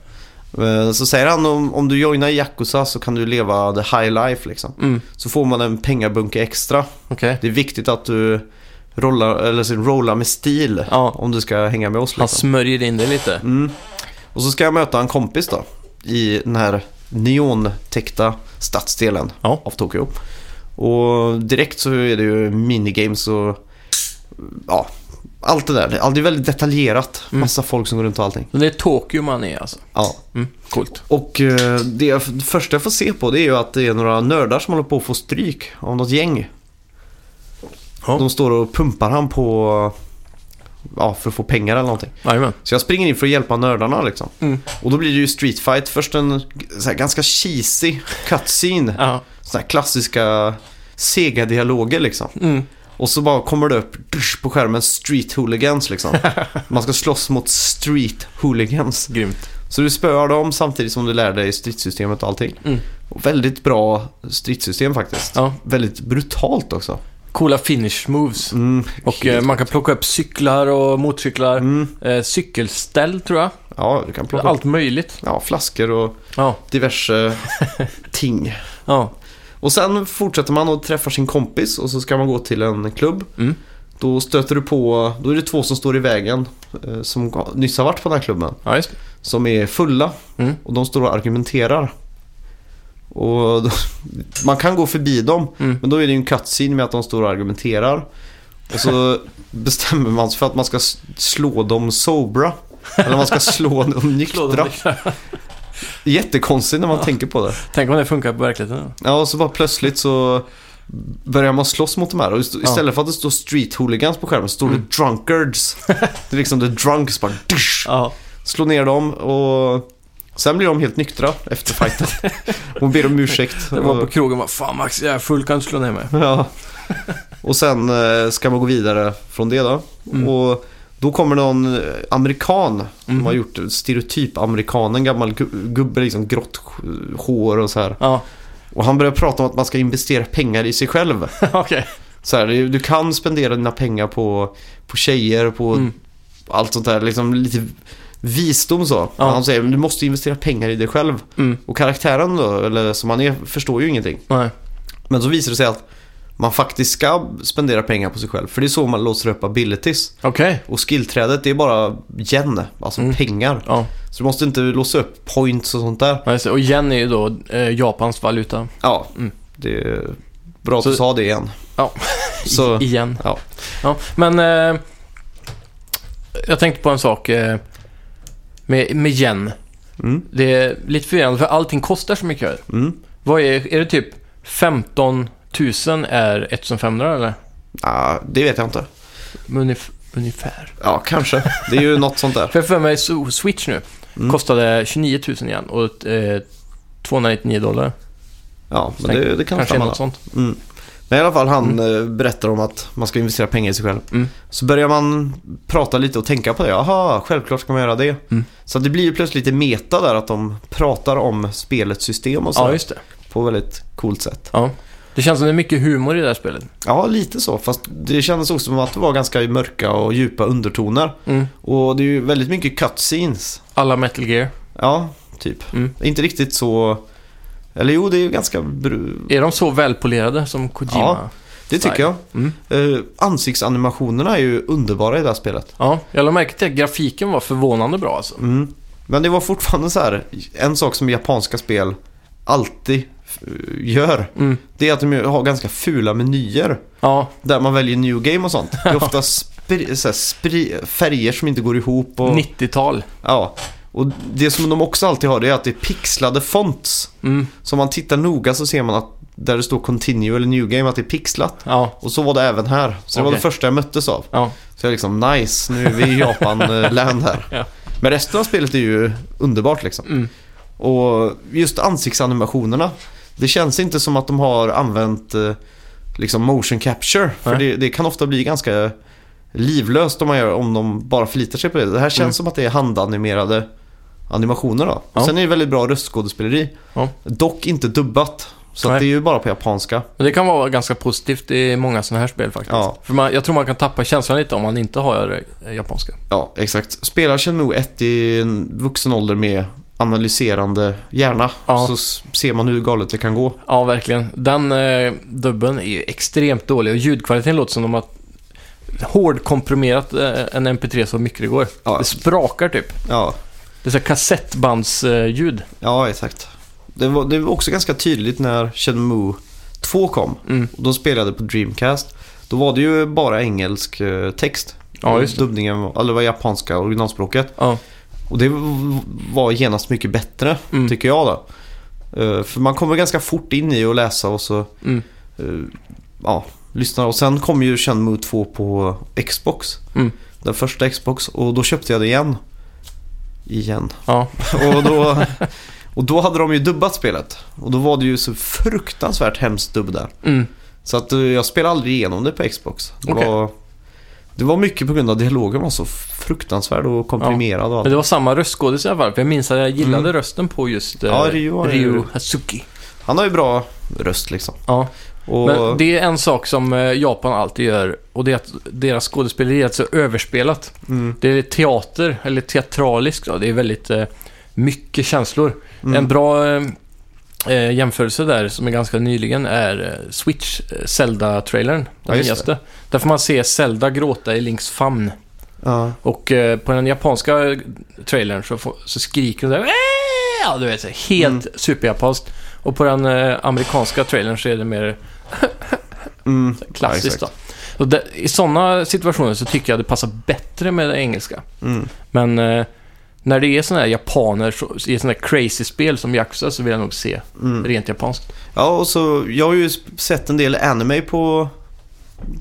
Speaker 1: Men Så säger han om, om du joinar Yakuza så kan du leva the high life liksom.
Speaker 2: Mm.
Speaker 1: Så får man en pengabunke extra.
Speaker 2: Okej.
Speaker 1: Det är viktigt att du rollar, eller så rollar med stil
Speaker 2: Ja.
Speaker 1: om du ska hänga med oss
Speaker 2: Han
Speaker 1: liksom.
Speaker 2: smörjer in det lite.
Speaker 1: Mm. Och så ska jag möta en kompis då i den här neontäckta stadsdelen
Speaker 2: Ja.
Speaker 1: av Tokyo. Och direkt så är det ju minigames och ja, allt det där. Allt är väldigt detaljerat.
Speaker 2: Mm.
Speaker 1: Massa folk som går runt och allting.
Speaker 2: Men det är Tokyo man är alltså.
Speaker 1: Ja.
Speaker 2: Mm. Coolt.
Speaker 1: Och eh, det, jag, det första jag får se på det är ju att det är några nördar som håller på att få stryk av något gäng.
Speaker 2: Ja.
Speaker 1: De står och pumpar han på, ja, för att få pengar eller någonting.
Speaker 2: Jajamän.
Speaker 1: Så jag springer in för att hjälpa nördarna liksom.
Speaker 2: Mm.
Speaker 1: Och då blir det ju street fight. Först en så här, ganska cheesy cutscene.
Speaker 2: Ja.
Speaker 1: Sådana här klassiska sega dialoger liksom.
Speaker 2: Mm.
Speaker 1: Och så bara kommer det upp dusch, på skärmen street hooligans liksom. Man ska slåss mot street hooligans.
Speaker 2: Grymt.
Speaker 1: Så du spöar dem samtidigt som du lär dig stridssystemet och allting.
Speaker 2: Mm.
Speaker 1: Och väldigt bra stridssystem faktiskt.
Speaker 2: Ja.
Speaker 1: Väldigt brutalt också.
Speaker 2: Coola finish moves.
Speaker 1: Mm,
Speaker 2: Och eh, man kan plocka upp cyklar och motorcyklar.
Speaker 1: Mm.
Speaker 2: Eh, cykelställ tror jag.
Speaker 1: Ja, du kan plocka upp
Speaker 2: Allt möjligt.
Speaker 1: ja, flaskor och
Speaker 2: Ja.
Speaker 1: diverse ting.
Speaker 2: Ja.
Speaker 1: Och sen fortsätter man och träffar sin kompis och så ska man gå till en klubb.
Speaker 2: Mm.
Speaker 1: Då stöter du på, då är det två som står i vägen eh, som nyss har varit på den här klubben.
Speaker 2: Ja, just.
Speaker 1: Som är fulla
Speaker 2: Mm.
Speaker 1: och de står och argumenterar. Och då, man kan gå förbi dem
Speaker 2: Mm.
Speaker 1: men då är det ju en cutscene med att de står och argumenterar. Och så bestämmer man sig för att man ska s- slå dem sobra. Eller man ska slå dem nyktra. Jättekonstigt när man tänker på det.
Speaker 2: Tänk om det funkar på verkligheten.
Speaker 1: Ja, och så bara plötsligt så börjar man slåss mot de här. Och ist- istället för att det står street hooligans på skärmen så står
Speaker 2: Mm.
Speaker 1: det drunkards. Det är liksom the drunks bara dusch,
Speaker 2: Ja.
Speaker 1: slå ner dem och sen blir de helt nyktra efter fighten. Och ber om ursäkt.
Speaker 2: Det var
Speaker 1: Och-
Speaker 2: på krogen bara, fan Max, jag är full, kan du slå ner mig?
Speaker 1: Ja. Och sen eh, ska man gå vidare från det då.
Speaker 2: Mm.
Speaker 1: Och då kommer någon eh, amerikan som
Speaker 2: Mhm.
Speaker 1: har gjort stereotyp amerikan, en gammal gu- gubbe liksom grått sk- hår och så här.
Speaker 2: Ja,
Speaker 1: Och han börjar prata om att man ska investera pengar i sig själv.
Speaker 2: okej.
Speaker 1: Så här, du du kan spendera dina pengar på, på tjejer, på
Speaker 2: Mm.
Speaker 1: allt sånt där. Liksom lite visdom så.
Speaker 2: Ja.
Speaker 1: Han säger du måste investera pengar i dig själv.
Speaker 2: Mm.
Speaker 1: Och karaktären då, eller som han är, förstår ju ingenting.
Speaker 2: Nej.
Speaker 1: Men så visar det sig att man faktiskt ska spendera pengar på sig själv. För det är så man låser upp abilities.
Speaker 2: Okej.
Speaker 1: Och skillträdet det är bara yen, alltså
Speaker 2: Mm.
Speaker 1: pengar.
Speaker 2: Ja,
Speaker 1: Så du måste inte låsa upp points och sånt där.
Speaker 2: Ja, just det. Och yen är ju då eh, Japans valuta.
Speaker 1: Ja,
Speaker 2: Mm.
Speaker 1: det är bra att
Speaker 2: Så-
Speaker 1: du sa det igen.
Speaker 2: Ja.
Speaker 1: Så,
Speaker 2: I, igen.
Speaker 1: ja.
Speaker 2: Ja, men eh, jag tänkte på en sak eh, med, med yen.
Speaker 1: Mm.
Speaker 2: Det är lite förvirrande för allting kostar så mycket.
Speaker 1: Mm.
Speaker 2: Vad är, är det typ 15 000 är 1500 eller?
Speaker 1: Ja, det vet jag inte.
Speaker 2: Ungef- ungefär.
Speaker 1: Ja, kanske. Det är ju något sånt där.
Speaker 2: För jag får mig so- Switch nu
Speaker 1: Mm.
Speaker 2: kostade 29 000 igen och eh, 299 dollar.
Speaker 1: Ja, men det, det kan
Speaker 2: Kanske
Speaker 1: stämma.
Speaker 2: något sånt.
Speaker 1: Mm. Men i alla fall han eh, berättar om att man ska investera pengar i sig själv.
Speaker 2: Mm.
Speaker 1: Så börjar man prata lite och tänka på det. Jaha, självklart ska man göra det.
Speaker 2: Mm.
Speaker 1: Så att det blir ju plötsligt lite meta där att de pratar om spelets system och så
Speaker 2: Ja,
Speaker 1: där
Speaker 2: just det.
Speaker 1: på väldigt coolt sätt.
Speaker 2: Ja. Det känns som det är mycket humor i det här spelet.
Speaker 1: Ja, lite så. Fast det kändes också som att det var ganska mörka och djupa undertoner.
Speaker 2: Mm.
Speaker 1: Och det är ju väldigt mycket cutscenes.
Speaker 2: Alla Metal Gear.
Speaker 1: Ja, typ.
Speaker 2: Mm.
Speaker 1: Inte riktigt så... Eller jo, det är ju ganska... Bru...
Speaker 2: Är de så välpolerade som Kojima?
Speaker 1: Ja. Det tycker
Speaker 2: Style.
Speaker 1: jag.
Speaker 2: Mm.
Speaker 1: Eh, ansiktsanimationerna är ju underbara i det här spelet.
Speaker 2: Ja, jag lade märke till att grafiken var förvånande bra alltså.
Speaker 1: Mm. Men det var fortfarande så här, en sak som japanska spel alltid eh, gör.
Speaker 2: Mm.
Speaker 1: Det är att de har ganska fula menyer
Speaker 2: Ja,
Speaker 1: där man väljer new game och sånt. Det är ofta spri, så här, spri, färger som inte går ihop. Och,
Speaker 2: 90-tal.
Speaker 1: ja. och det som de också alltid har det är att det är pixlade fonts.
Speaker 2: Mm.
Speaker 1: Så om man tittar noga så ser man att där det står continue eller new game att det är pixlat.
Speaker 2: Ja,
Speaker 1: Och så var det även här. Så det var
Speaker 2: Okej.
Speaker 1: det första jag möttes av.
Speaker 2: ja.
Speaker 1: Så jag liksom nice, nu är vi i Japan-land här.
Speaker 2: Ja.
Speaker 1: Men resten av spelet är ju underbart liksom.
Speaker 2: Mm.
Speaker 1: Och just ansiktsanimationerna. Det känns inte som att de har använt eh, liksom motion capture. För
Speaker 2: Nej.
Speaker 1: det, det kan ofta bli ganska livlöst om, man gör, om de bara förlitar sig på det. Det här känns
Speaker 2: Mm.
Speaker 1: som att det är handanimerade animationer då.
Speaker 2: Ja.
Speaker 1: Och sen är det väldigt bra röstskådespeleri.
Speaker 2: Ja.
Speaker 1: Dock inte dubbat. Så
Speaker 2: Nej.
Speaker 1: att det är ju bara på japanska.
Speaker 2: Men det kan vara ganska positivt i många sådana här spel faktiskt.
Speaker 1: Ja.
Speaker 2: För man, jag tror man kan tappa känslan lite om man inte har eh, japanska.
Speaker 1: Ja, exakt. Spelar Shenmue 1 i en vuxen ålder med analyserande hjärna
Speaker 2: Ja.
Speaker 1: så s- ser man hur galet det kan gå.
Speaker 2: Ja, verkligen. Den eh, dubben är ju extremt dålig och ljudkvaliteten låter som de har hårdkomprimerat eh, en MP3 så mycket det går.
Speaker 1: Ja.
Speaker 2: Det sprakar typ.
Speaker 1: Ja,
Speaker 2: Det är så här kassettbandsljud. Eh, ljud.
Speaker 1: ja exakt. Det var, det var också ganska tydligt när Shenmue 2 kom.
Speaker 2: mm.
Speaker 1: Och de spelade på Dreamcast. Då var det ju bara engelsk eh, text.
Speaker 2: Ja, just det.
Speaker 1: Dubbningen, var- eller det var japanska originalspråket.
Speaker 2: Ja.
Speaker 1: Och det v- var genast mycket bättre,
Speaker 2: Mm.
Speaker 1: tycker jag då. Eh, För man kommer ganska fort in i att läsa och så
Speaker 2: Mm.
Speaker 1: eh, ja, lyssnade. Och sen kom ju Shenmue 2 på Xbox.
Speaker 2: Mm.
Speaker 1: Den första Xbox. Och då köpte jag det igen. Igen.
Speaker 2: Ja.
Speaker 1: Och då, och då hade de ju dubbat spelet. Och då var det ju så fruktansvärt hemskt dubb där.
Speaker 2: Mm.
Speaker 1: Så att eh, jag spelade aldrig igenom det på Xbox. Det,
Speaker 2: Okej.
Speaker 1: var, det var mycket på grund av att dialogen var så fruktansvärd och komprimerad. Och
Speaker 2: Men
Speaker 1: allt.
Speaker 2: det var samma röstskådis i alla fall, för jag minns att jag gillade
Speaker 1: Mm.
Speaker 2: rösten på just eh,
Speaker 1: Ja, Ryu har ju-
Speaker 2: Ryu Hazuki.
Speaker 1: Han har ju bra röst liksom.
Speaker 2: Ja.
Speaker 1: Och,
Speaker 2: Men det är en sak som eh, Japan alltid gör och det är att deras skådespeleri är så överspelat.
Speaker 1: mm,
Speaker 2: Det är teater, eller teatraliskt då. Det är väldigt eh, mycket känslor.
Speaker 1: mm,
Speaker 2: En bra eh, eh, jämförelse där, som är ganska nyligen, är eh, Switch, eh, Zelda-trailern.
Speaker 1: Ja,
Speaker 2: Den
Speaker 1: just
Speaker 2: nyaste. Där får man se Zelda gråta i Links famn.
Speaker 1: ja,
Speaker 2: Och eh, på den japanska trailern så, får- så skriker hon där "Aah!" du vet, så här, helt
Speaker 1: Mm.
Speaker 2: superjapanskt. Och på den eh, amerikanska trailern så är det mer
Speaker 1: mm,
Speaker 2: klassiskt.
Speaker 1: Ja,
Speaker 2: då. Och där- I sådana situationer så tycker jag det passar bättre med det engelska.
Speaker 1: mm,
Speaker 2: Men eh, när det är sådana här japaner så, i sådana här crazy-spel som Yakuza så vill jag nog se
Speaker 1: mm.
Speaker 2: rent japanskt.
Speaker 1: Ja, och så, jag har ju sp- sett en del anime på,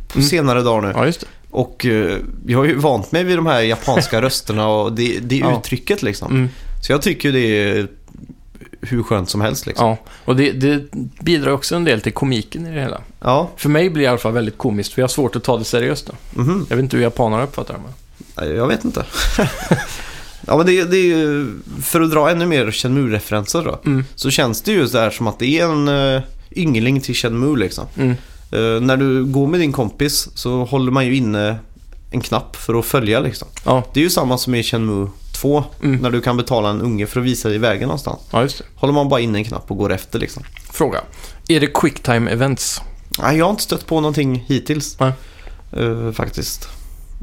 Speaker 1: på
Speaker 2: Mm.
Speaker 1: senare dagar nu.
Speaker 2: Ja, just det.
Speaker 1: Och eh, jag har ju vant mig vid de här japanska rösterna och det, det
Speaker 2: Ja.
Speaker 1: uttrycket liksom.
Speaker 2: Mm,
Speaker 1: Så jag tycker ju det är hur skönt som helst liksom.
Speaker 2: ja. Och det, det bidrar också en del till komiken i det hela.
Speaker 1: Ja,
Speaker 2: För mig blir det i alla fall väldigt komiskt, för jag har svårt att ta det seriöst. Då.
Speaker 1: mhm.
Speaker 2: Jag vet inte hur japanerna uppfattar det. Men...
Speaker 1: Nej, jag vet inte. ja, men det, det är ju, för att dra ännu mer Shenmue-referenser då.
Speaker 2: Mm.
Speaker 1: Så känns det ju så här som att det är en uh, yngling till Shenmue liksom.
Speaker 2: Mm.
Speaker 1: Eh, när du går med din kompis så håller man ju inne en knapp för att följa liksom.
Speaker 2: Ja,
Speaker 1: Det är ju samma som i Shenmue 2.
Speaker 2: Mm.
Speaker 1: När du kan betala en unge för att visa dig vägen någonstans.
Speaker 2: ja, just det.
Speaker 1: Håller man bara inne en knapp och går efter liksom.
Speaker 2: Fråga. Är det quicktime events?
Speaker 1: Nej, jag har inte stött på någonting hittills.
Speaker 2: Nej.
Speaker 1: Eh, faktiskt.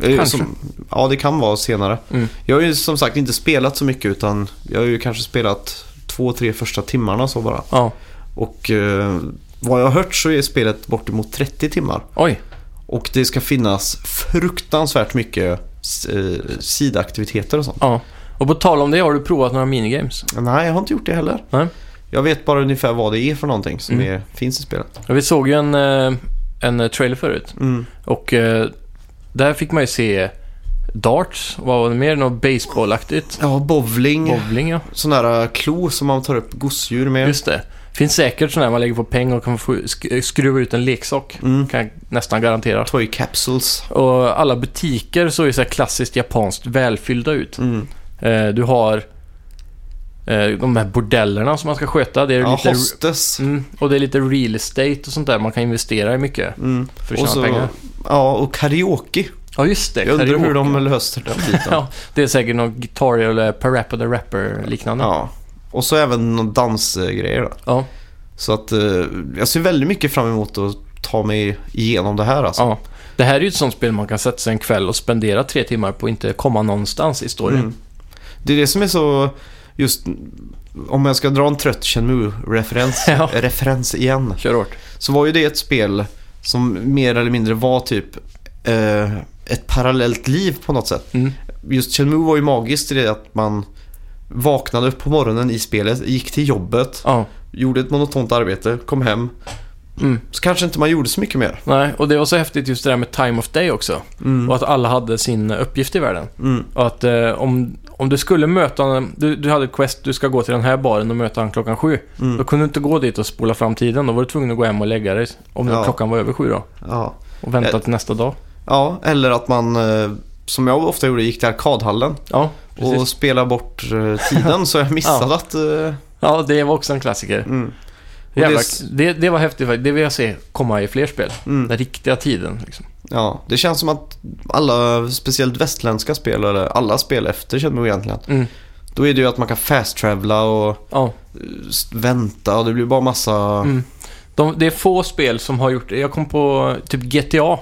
Speaker 1: Eh,
Speaker 2: Kanske.
Speaker 1: Som, ja, det kan vara senare.
Speaker 2: Mm.
Speaker 1: Jag har ju som sagt inte spelat så mycket utan jag har ju kanske spelat två, tre första timmarna så bara.
Speaker 2: Ja.
Speaker 1: Och eh, vad jag har hört så är spelet bortemot 30 timmar.
Speaker 2: Oj.
Speaker 1: Och det ska finnas fruktansvärt mycket eh, sidaktiviteter och sånt.
Speaker 2: Ja. Och på tal om det, har du provat några minigames?
Speaker 1: Nej, jag har inte gjort det heller.
Speaker 2: Nej.
Speaker 1: Jag vet bara ungefär vad det är för någonting som
Speaker 2: Mm.
Speaker 1: är, finns i spelet.
Speaker 2: Ja, Vi såg ju en, eh, en trailer förut.
Speaker 1: Mm.
Speaker 2: Och eh, där fick man ju se darts. Vad var det mer? Något baseballaktigt?
Speaker 1: Ja, bowling.
Speaker 2: Bowling, ja.
Speaker 1: Sån där eh, klo som man tar upp gosedjur med.
Speaker 2: Just det. Finns säkert sådana här man lägger på pengar och kan få sk- eh, skruva ut en leksak.
Speaker 1: Mm.
Speaker 2: Kan jag nästan garantera.
Speaker 1: Toy capsules.
Speaker 2: Och alla butiker såg ju så här klassiskt japanskt välfyllda ut.
Speaker 1: Mm.
Speaker 2: Eh, du har eh, de här bordellerna som man ska sköta. Det är
Speaker 1: Ja,
Speaker 2: lite,
Speaker 1: hostess.
Speaker 2: mm, och det är lite real estate och sånt där man kan investera i mycket
Speaker 1: Mm.
Speaker 2: för att
Speaker 1: Och
Speaker 2: tjäna pengar.
Speaker 1: så, ja, och karaoke.
Speaker 2: Ja, just det.
Speaker 1: Jag undrar hur
Speaker 2: karaoke.
Speaker 1: de löser den biten.
Speaker 2: Ja, det är säkert någon Guitar Hero eller Parappa the Rapper liknande. Ja.
Speaker 1: ja. Och så även någon dansgrejer då.
Speaker 2: Ja,
Speaker 1: Så att eh, jag ser väldigt mycket fram emot att ta mig igenom det här alltså.
Speaker 2: Det här är ju ett sånt spel man kan sätta sig en kväll och spendera tre timmar på och inte komma någonstans i storyn.
Speaker 1: Mm. Det är det som är så just om jag ska dra en trött Shenmue-referens
Speaker 2: Ja.
Speaker 1: referens igen.
Speaker 2: Kör hårt.
Speaker 1: Så var ju det ett spel som mer eller mindre var typ eh, ett parallellt liv på något sätt.
Speaker 2: Mm.
Speaker 1: Just Shenmue var ju magiskt i det att man vaknade upp på morgonen i spelet, gick till jobbet,
Speaker 2: Ja.
Speaker 1: gjorde ett monotont arbete, kom hem.
Speaker 2: Mm.
Speaker 1: Så kanske inte man gjorde så mycket mer.
Speaker 2: Nej, och det var så häftigt just det där med time of day också.
Speaker 1: Mm.
Speaker 2: Och att alla hade sin eh, uppgift i världen.
Speaker 1: Mm.
Speaker 2: Och att eh, om, om du skulle möta en, du, du hade ett quest, du ska gå till den här baren och möta han klockan sju.
Speaker 1: Mm.
Speaker 2: Då kunde du inte gå dit och spola fram tiden. Då var du tvungen att gå hem och lägga dig. Om
Speaker 1: Ja.
Speaker 2: klockan var över sju då.
Speaker 1: Ja.
Speaker 2: Och vänta
Speaker 1: Eh.
Speaker 2: till nästa dag.
Speaker 1: ja, eller att man, eh, som jag ofta gjorde, gick till arkadhallen
Speaker 2: Ja, precis.
Speaker 1: och spelade bort eh, tiden så jag missade att... eh,
Speaker 2: Ja, det var också en klassiker.
Speaker 1: Mm. Och
Speaker 2: Jävlar,
Speaker 1: det-
Speaker 2: det, det var häftigt faktiskt. Det vill jag se komma i fler spel.
Speaker 1: Mm.
Speaker 2: Den riktiga tiden liksom.
Speaker 1: Ja, det känns som att alla, speciellt västländska spel, eller alla spel efter Shenmue egentligen.
Speaker 2: Mm.
Speaker 1: Då är det ju att man kan fast-travela och eh,
Speaker 2: Ja.
Speaker 1: s- vänta och det blir bara massa...
Speaker 2: Mm. De, det är få spel som har gjort det. Jag kom på typ GTA.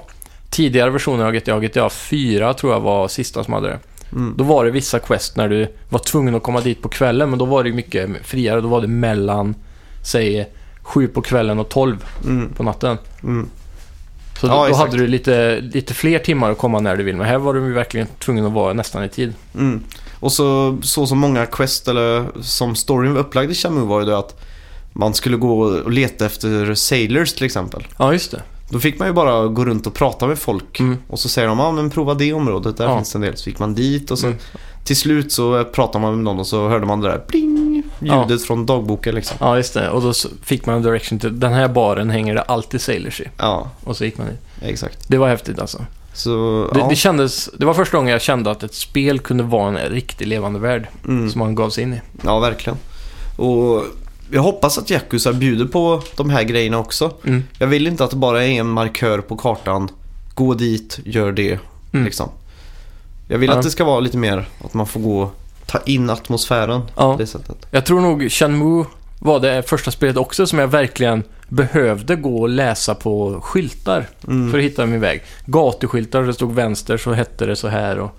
Speaker 2: Tidigare versioner av GTA, GTA 4 tror jag var sista som hade det.
Speaker 1: Mm.
Speaker 2: Då var det vissa quest när du var tvungen att komma dit på kvällen, men då var det ju mycket friare. Då var det mellan, säg, 7 på kvällen och 12
Speaker 1: Mm.
Speaker 2: på natten.
Speaker 1: Mm.
Speaker 2: Så
Speaker 1: Ja,
Speaker 2: då, då
Speaker 1: exakt.
Speaker 2: hade du lite, lite fler timmar att komma när du vill. Men här var du ju verkligen tvungen att vara nästan i tid.
Speaker 1: Mm. Och så, så som många quest, eller som storyn var upplagd i Shenmue var ju det att man skulle gå och leta efter sailors till exempel.
Speaker 2: Ja, just det.
Speaker 1: Då fick man ju bara gå runt och prata med folk.
Speaker 2: Mm.
Speaker 1: Och så säger de, ja men prova det området, där
Speaker 2: Ja.
Speaker 1: finns en del. Så gick man dit och så
Speaker 2: Mm.
Speaker 1: till slut så eh, pratade man med någon och så hörde man det där pling, ljudet från dagboken liksom.
Speaker 2: Ja, just det. Och då så fick man en direction till den här baren hänger det alltid sailors i.
Speaker 1: Ja,
Speaker 2: Och så gick man dit.
Speaker 1: exakt.
Speaker 2: Det var häftigt alltså.
Speaker 1: Så,
Speaker 2: Det,
Speaker 1: ja.
Speaker 2: det, kändes, det var första gången jag kände att ett spel kunde vara en riktigt levande värld
Speaker 1: mm.
Speaker 2: som man gav sig in i.
Speaker 1: ja, verkligen. Och jag hoppas att Yakuza bjuder på de här grejerna också.
Speaker 2: Mm.
Speaker 1: Jag vill inte att det bara är en markör på kartan. Gå dit, gör det.
Speaker 2: Mm.
Speaker 1: Liksom. Jag vill
Speaker 2: Ja.
Speaker 1: att det ska vara lite mer att man får gå ta in atmosfären på
Speaker 2: Ja.
Speaker 1: det sättet.
Speaker 2: Jag tror nog Shenmue var det första spelet också som jag verkligen behövde gå och läsa på skyltar
Speaker 1: Mm.
Speaker 2: för att hitta min väg. Gatuskyltar, där det stod vänster så hette det så här och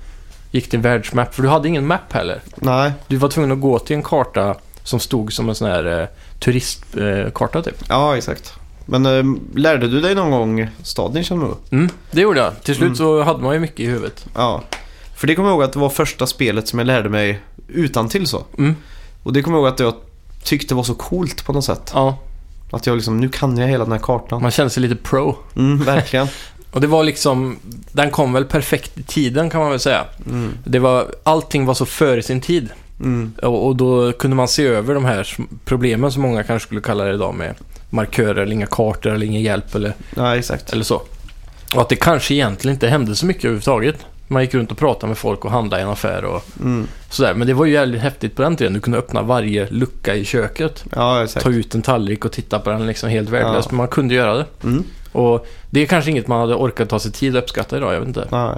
Speaker 2: gick till världsmapp. För du hade ingen mapp heller.
Speaker 1: Nej,
Speaker 2: Du var tvungen att gå till en karta som stod som en sån här eh, turistkarta eh, karta, typ.
Speaker 1: ja exakt. Men eh, lärde du dig någon gång staden Shenmue?
Speaker 2: Mm, det gjorde jag. Till slut så hade man ju mycket i huvudet.
Speaker 1: Ja. För det kommer jag ihåg att det var första spelet som jag lärde mig utan till så.
Speaker 2: Mm.
Speaker 1: Och det kommer jag ihåg att jag tyckte var så coolt på något sätt.
Speaker 2: Ja,
Speaker 1: Att jag liksom, nu kan jag hela den här kartan.
Speaker 2: man kände sig lite pro.
Speaker 1: Mm, verkligen.
Speaker 2: Och det var liksom, den kom väl perfekt i tiden kan man väl säga.
Speaker 1: Mm,
Speaker 2: Det var, allting var så före sin tid.
Speaker 1: mm,
Speaker 2: Och, och då kunde man se över de här sm- problemen som många kanske skulle kalla det idag med markörer eller inga kartor eller ingen hjälp eller,
Speaker 1: ja exakt.
Speaker 2: eller så. Och att det kanske egentligen inte hände så mycket överhuvudtaget. Man gick runt och pratade med folk och handlade i en affär och
Speaker 1: Mm,
Speaker 2: sådär. Men det var ju jävligt häftigt på den tiden. Du kunde öppna varje lucka i köket,
Speaker 1: ja exakt.
Speaker 2: ta ut en tallrik och titta på den liksom helt värdelöst.
Speaker 1: Ja.
Speaker 2: Men man kunde göra det.
Speaker 1: Mm,
Speaker 2: Och det är kanske inget man hade orkat ta sig tid att uppskatta idag, jag vet inte.
Speaker 1: nej.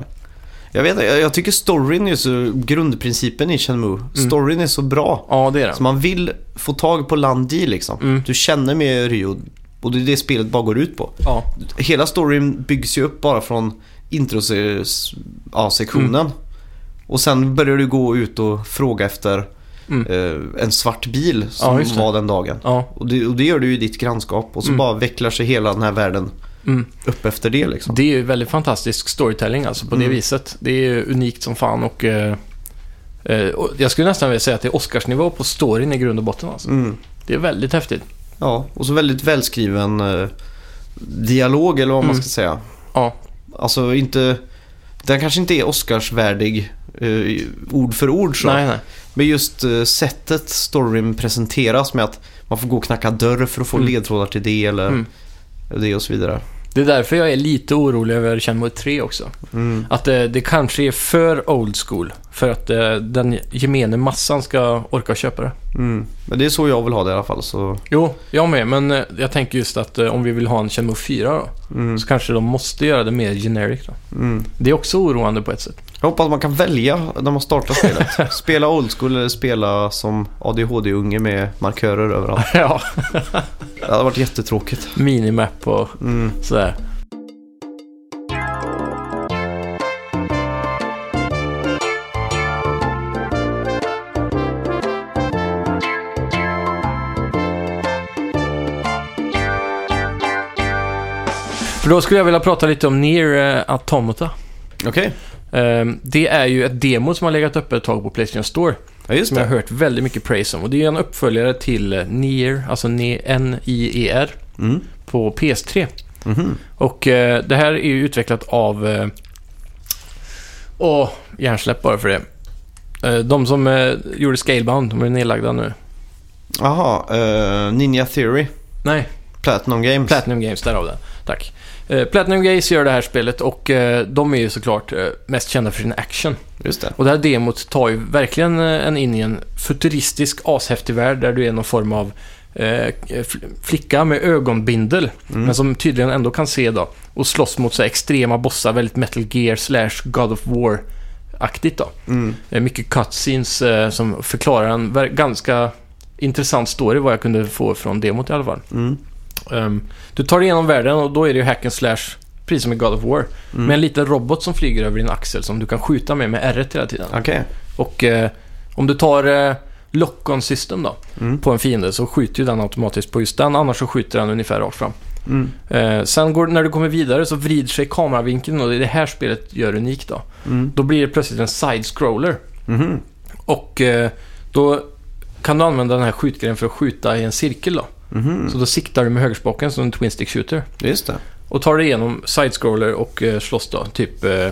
Speaker 1: Jag vet inte, jag, jag tycker storyn är så, grundprincipen i Shenmue. Storyn är så bra.
Speaker 2: Mm. Ja, det är det.
Speaker 1: Så man vill få tag på Landi liksom.
Speaker 2: Mm.
Speaker 1: Du känner med Rio och det är det spelet bara går ut på.
Speaker 2: Ja.
Speaker 1: Hela storyn byggs ju upp bara från intro-sektionen.
Speaker 2: Mm.
Speaker 1: Och sen börjar du gå ut och fråga efter
Speaker 2: Mm.
Speaker 1: eh, en svart bil
Speaker 2: Ja,
Speaker 1: som
Speaker 2: just det.
Speaker 1: var den dagen.
Speaker 2: Ja.
Speaker 1: Och det, och det gör du ju i ditt grannskap och så
Speaker 2: Mm.
Speaker 1: bara vecklar sig hela den här världen
Speaker 2: Mm.
Speaker 1: upp efter det liksom.
Speaker 2: Det är ju väldigt fantastisk storytelling alltså på
Speaker 1: Mm.
Speaker 2: det viset. Det är ju unikt som fan och, eh, eh, och jag skulle nästan vilja säga att det är Oscarsnivå på storyn i grund och botten alltså.
Speaker 1: Mm.
Speaker 2: Det är väldigt häftigt.
Speaker 1: Ja, och så väldigt välskriven eh, dialog eller vad man
Speaker 2: Mm.
Speaker 1: ska säga.
Speaker 2: Ja,
Speaker 1: Alltså inte... Den kanske inte är Oscarsvärdig eh, ord för ord så.
Speaker 2: Nej, nej.
Speaker 1: Men just eh, sättet storyn presenteras med att man får gå och knacka dörr för att få
Speaker 2: Mm.
Speaker 1: ledtrådar till det eller
Speaker 2: Mm.
Speaker 1: det och så vidare.
Speaker 2: Det är därför jag är lite orolig över Shenmue 3 också.
Speaker 1: Mm.
Speaker 2: Att det, det kanske är för old school för att eh, den gemene massan ska orka köpa det.
Speaker 1: Mm. Men det är så jag vill ha det i alla fall. Så,
Speaker 2: Jo, jag med, men eh, jag tänker just att eh, om vi vill ha en Shenmue 4 då,
Speaker 1: mm.
Speaker 2: så kanske de måste göra det mer generic då.
Speaker 1: Mm.
Speaker 2: Det är också oroande på ett sätt.
Speaker 1: Jag hoppas man kan välja när man startar spelet. spela old school eller spela som ADHD-unge med markörer överallt.
Speaker 2: ja,
Speaker 1: Det hade varit jättetråkigt.
Speaker 2: minimap och
Speaker 1: Mm.
Speaker 2: sådär. För då skulle jag vilja prata lite om Near eh, Automata.
Speaker 1: Okej,
Speaker 2: Ehm, Det är ju ett demo som har legat uppe ett tag på Playstation Store.
Speaker 1: ja, just
Speaker 2: Som jag
Speaker 1: det.
Speaker 2: har hört väldigt mycket praise om. Och det är en uppföljare till eh, Nier, alltså Ne- N-I-E-R,
Speaker 1: Mm.
Speaker 2: på PS3.
Speaker 1: Mhm.
Speaker 2: Och eh, det här är ju utvecklat av... eh, Åh, hjärnsläpp bara för det. Eh, de som eh, gjorde Scalebound, de är nedlagda nu.
Speaker 1: Jaha, eh, Ninja Theory.
Speaker 2: Nej,
Speaker 1: Platinum Games.
Speaker 2: Platinum Games, därav det. Tack. Eh, Platinum Games gör det här spelet och eh, de är ju såklart eh, mest kända för sin action.
Speaker 1: Just det.
Speaker 2: Och det här demot tar ju verkligen eh, en in i en futuristisk, ashäftig värld där du är någon form av eh, fl- flicka med ögonbindel. Men som tydligen ändå kan se då. Och slåss mot så här extrema bossar, väldigt metal gear slash God of War-aktigt då.
Speaker 1: Mm.
Speaker 2: Eh, mycket cutscenes eh, som förklarar en ver- ganska intressant story vad jag kunde få från demot i alla fall.
Speaker 1: Mm.
Speaker 2: Ehm, du tar dig igenom världen och då är det ju hack and slash, precis som i God of War. Med en liten robot som flyger över din axel som du kan skjuta med med R1 hela tiden.
Speaker 1: Okej.
Speaker 2: Och eh, om du tar eh, lock-on system då,
Speaker 1: Mm.
Speaker 2: på en fiende så skjuter ju den automatiskt på just den, annars så skjuter den ungefär rakt fram.
Speaker 1: Mm.
Speaker 2: Eh, sen går, när du kommer vidare så vrider sig kameravinkeln och det är det här spelet gör unikt då.
Speaker 1: Mm.
Speaker 2: Då blir det plötsligt en side-scroller
Speaker 1: Mhm.
Speaker 2: och eh, då kan du använda den här skjutgrejen för att skjuta i en cirkel då.
Speaker 1: Mhm.
Speaker 2: Så då siktar du med högerspaken som en twin stick shooter
Speaker 1: Just det.
Speaker 2: och tar dig igenom side-scroller och eh, slåss då, typ eh,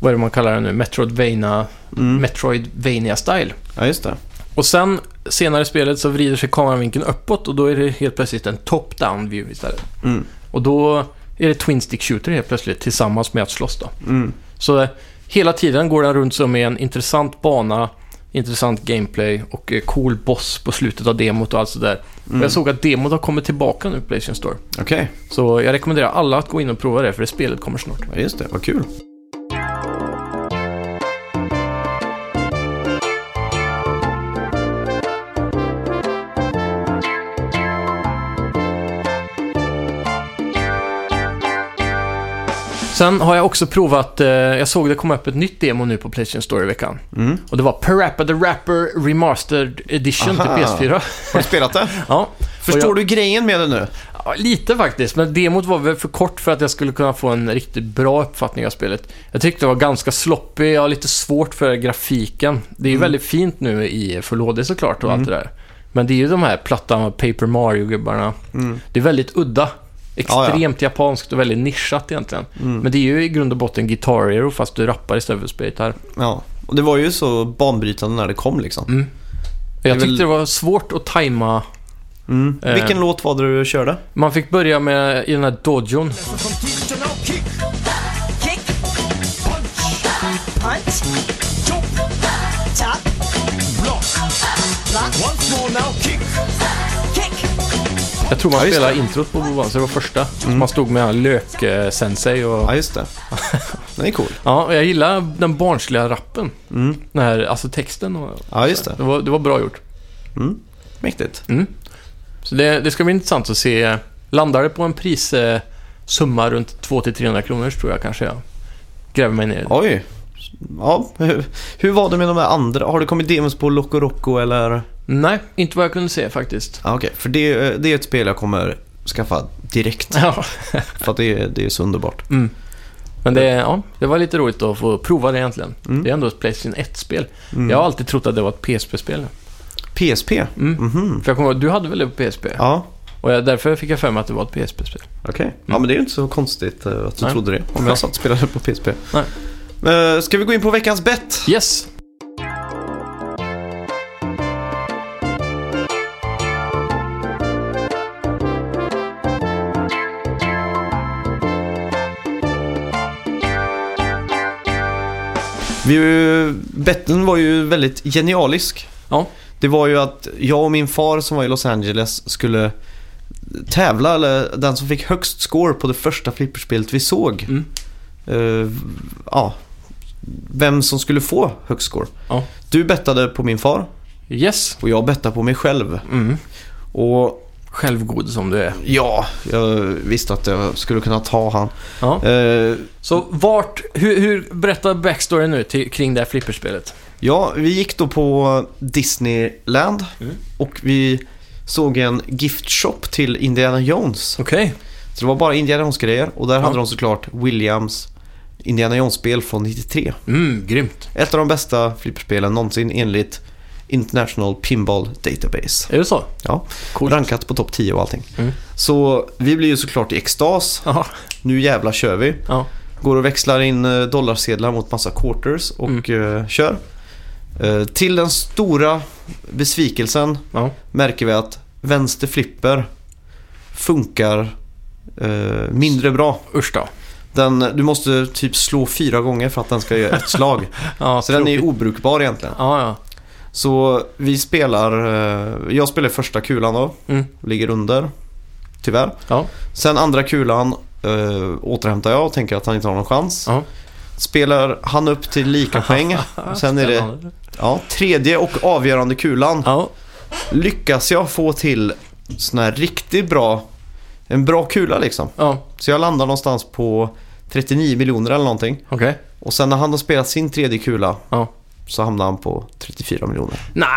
Speaker 2: vad är det man kallar det nu? Metroidvania,
Speaker 1: Mm.
Speaker 2: Metroidvania style.
Speaker 1: Ja, just det.
Speaker 2: Och sen senare i spelet så vrider sig kameravinkeln uppåt och då är det helt plötsligt en top-down view istället.
Speaker 1: Mm.
Speaker 2: Och då är det Twin Stick Shooter helt plötsligt tillsammans med att slåss då.
Speaker 1: Mm.
Speaker 2: Så eh, hela tiden går den runt som är en intressant bana, intressant gameplay och eh, cool boss på slutet av demot och allt sådär.
Speaker 1: Mm.
Speaker 2: Och jag såg att demot har kommit tillbaka nu på Playstation Store.
Speaker 1: Okej,
Speaker 2: Så jag rekommenderar alla att gå in och prova det för det spelet kommer snart.
Speaker 1: ja, just det. Vad kul.
Speaker 2: Sen har jag också provat, eh, jag såg det komma upp ett nytt demo nu på Playstation Store i veckan.
Speaker 1: Mm.
Speaker 2: Och det var Parappa the Rapper Remastered Edition
Speaker 1: Aha.
Speaker 2: till PS4.
Speaker 1: Har du spelat det?
Speaker 2: Ja,
Speaker 1: Förstår
Speaker 2: jag-
Speaker 1: du grejen med det nu?
Speaker 2: ja, lite faktiskt. Men demot var väl för kort för att jag skulle kunna få en riktigt bra uppfattning av spelet. Jag tyckte det var ganska sloppy, jag har lite svårt för grafiken. Det
Speaker 1: Mm.
Speaker 2: är ju väldigt fint nu i Full HD såklart och allt det där. Men det är ju de här platta Paper Mario-gubbarna. Det är väldigt udda.
Speaker 1: Mm. ja. Mm.
Speaker 2: Extremt japanskt och väldigt nischat egentligen. Men det är ju i grund och botten Guitar Hero fast du rappar istället för att spela gitarr.
Speaker 1: Ja. Och det var ju så banbrytande när det kom liksom.
Speaker 2: Jag
Speaker 1: väl-
Speaker 2: tyckte det var svårt att tajma
Speaker 1: Mm.
Speaker 2: Eh.
Speaker 1: Vilken låt var det du körde?
Speaker 2: Man fick börja med i den här dojon.
Speaker 3: Kick,
Speaker 4: Kick,
Speaker 3: punch,
Speaker 4: jump,
Speaker 3: tap,
Speaker 4: block,
Speaker 3: block.
Speaker 4: once more now.
Speaker 3: Kick,
Speaker 4: Kick,
Speaker 2: Jag tror man
Speaker 1: Ja, just
Speaker 2: spelade introt på Boban, så det var första. Så man stod med en lök-sensei och...
Speaker 1: Ja, just det. Den är cool.
Speaker 2: Ja, och jag gillar den barnsliga rappen. Den här, alltså texten och...
Speaker 1: Ja, just det.
Speaker 2: Det var, det var bra gjort.
Speaker 1: Mäktigt.
Speaker 2: Så det, det ska bli intressant att se. Landar det på en prissumma runt 200-300 kronor tror jag kanske jag gräver mig ner i.
Speaker 1: Oj. Ja, hur, hur var det med de här andra? Har det kommit demos på Loco Roco eller?
Speaker 2: Nej, inte vad jag kunde se faktiskt.
Speaker 1: Ja, Okej, för det, det är ett spel jag kommer skaffa direkt.
Speaker 2: Ja.
Speaker 1: För att det, är- det är så underbart.
Speaker 2: Men det, ja, det var lite roligt att få prova det egentligen. Det är ändå ett Playstation 1-spel. Jag har alltid trott att det var ett PSP-spel.
Speaker 1: PSP?
Speaker 2: Mm. För jag kommer ihåg, du hade väl det på PSP?
Speaker 1: Mhm. Ja,
Speaker 2: Och jag, därför fick jag för mig att det var ett PSP-spel.
Speaker 1: okej. Ja, men det är ju inte så konstigt eh, att du
Speaker 2: Mm. Nej.
Speaker 1: trodde det. Om jag satt och spelade på PSP.
Speaker 2: Nej.
Speaker 1: Eh, Ska vi gå in på veckans bett?
Speaker 2: Yes.
Speaker 1: Vi, betten var ju väldigt genialisk.
Speaker 2: Ja.
Speaker 1: Det var ju att jag och min far som var i Los Angeles skulle tävla, eller den som fick högst score på det första flipperspelet vi såg.
Speaker 2: Mm.
Speaker 1: Eh, ja, vem som skulle få högst score.
Speaker 2: Ja.
Speaker 1: Du bettade på min far
Speaker 2: Yes.
Speaker 1: och jag bettade på mig själv.
Speaker 2: Mm.
Speaker 1: Och
Speaker 2: Självgod som du är.
Speaker 1: ja, jag visste att jag skulle kunna ta han.
Speaker 2: Ja.
Speaker 1: Eh,
Speaker 2: Så vart... Hur, hur, berätta backstoryn nu till, kring det här flipperspelet.
Speaker 1: Ja, vi gick då på Disneyland
Speaker 2: Mm.
Speaker 1: och vi såg en giftshop till Indiana Jones.
Speaker 2: Okej.
Speaker 1: Så det var bara Indiana Jones-grejer och där
Speaker 2: Ja.
Speaker 1: hade de såklart Williams Indiana Jones-spel från 93.
Speaker 2: Mm, grymt.
Speaker 1: Ett av de bästa flipperspelen någonsin enligt International Pinball Database.
Speaker 2: Är det så?
Speaker 1: Ja,
Speaker 2: Coolt.
Speaker 1: rankat på topp 10 och allting.
Speaker 2: Mm.
Speaker 1: Så vi blir ju såklart i extas.
Speaker 2: Ja.
Speaker 1: Nu jävla kör vi.
Speaker 2: Ja.
Speaker 1: Går och växlar in eh, dollarsedlar mot massa quarters och
Speaker 2: Mm.
Speaker 1: eh, kör. Eh, till den stora besvikelsen
Speaker 2: Ja.
Speaker 1: märker vi att vänster flipper funkar eh, mindre bra.
Speaker 2: Usch då.
Speaker 1: Den, du måste typ slå fyra gånger för att den ska göra ett slag.
Speaker 2: Ja,
Speaker 1: Så den är
Speaker 2: tråkigt.
Speaker 1: ju obrukbar egentligen.
Speaker 2: Ja, ja.
Speaker 1: Så vi spelar, eh, jag spelar första kulan då,
Speaker 2: Mm.
Speaker 1: ligger under, tyvärr.
Speaker 2: Ja.
Speaker 1: Sen andra kulan eh, återhämtar jag och tänker att han inte har någon chans.
Speaker 2: Ja.
Speaker 1: Spelar han upp till lika poäng. Sen är det
Speaker 2: Spännande.
Speaker 1: ja, tredje och avgörande kulan.
Speaker 2: Ja.
Speaker 1: Lyckas jag få till sån här riktigt bra, en bra kula liksom.
Speaker 2: Ja.
Speaker 1: Så jag landar någonstans på 39 miljoner eller någonting.
Speaker 2: Okej.
Speaker 1: Och sen när han har spelat sin tredje kula
Speaker 2: Ja.
Speaker 1: så hamnar han på 34 miljoner.
Speaker 2: Nej.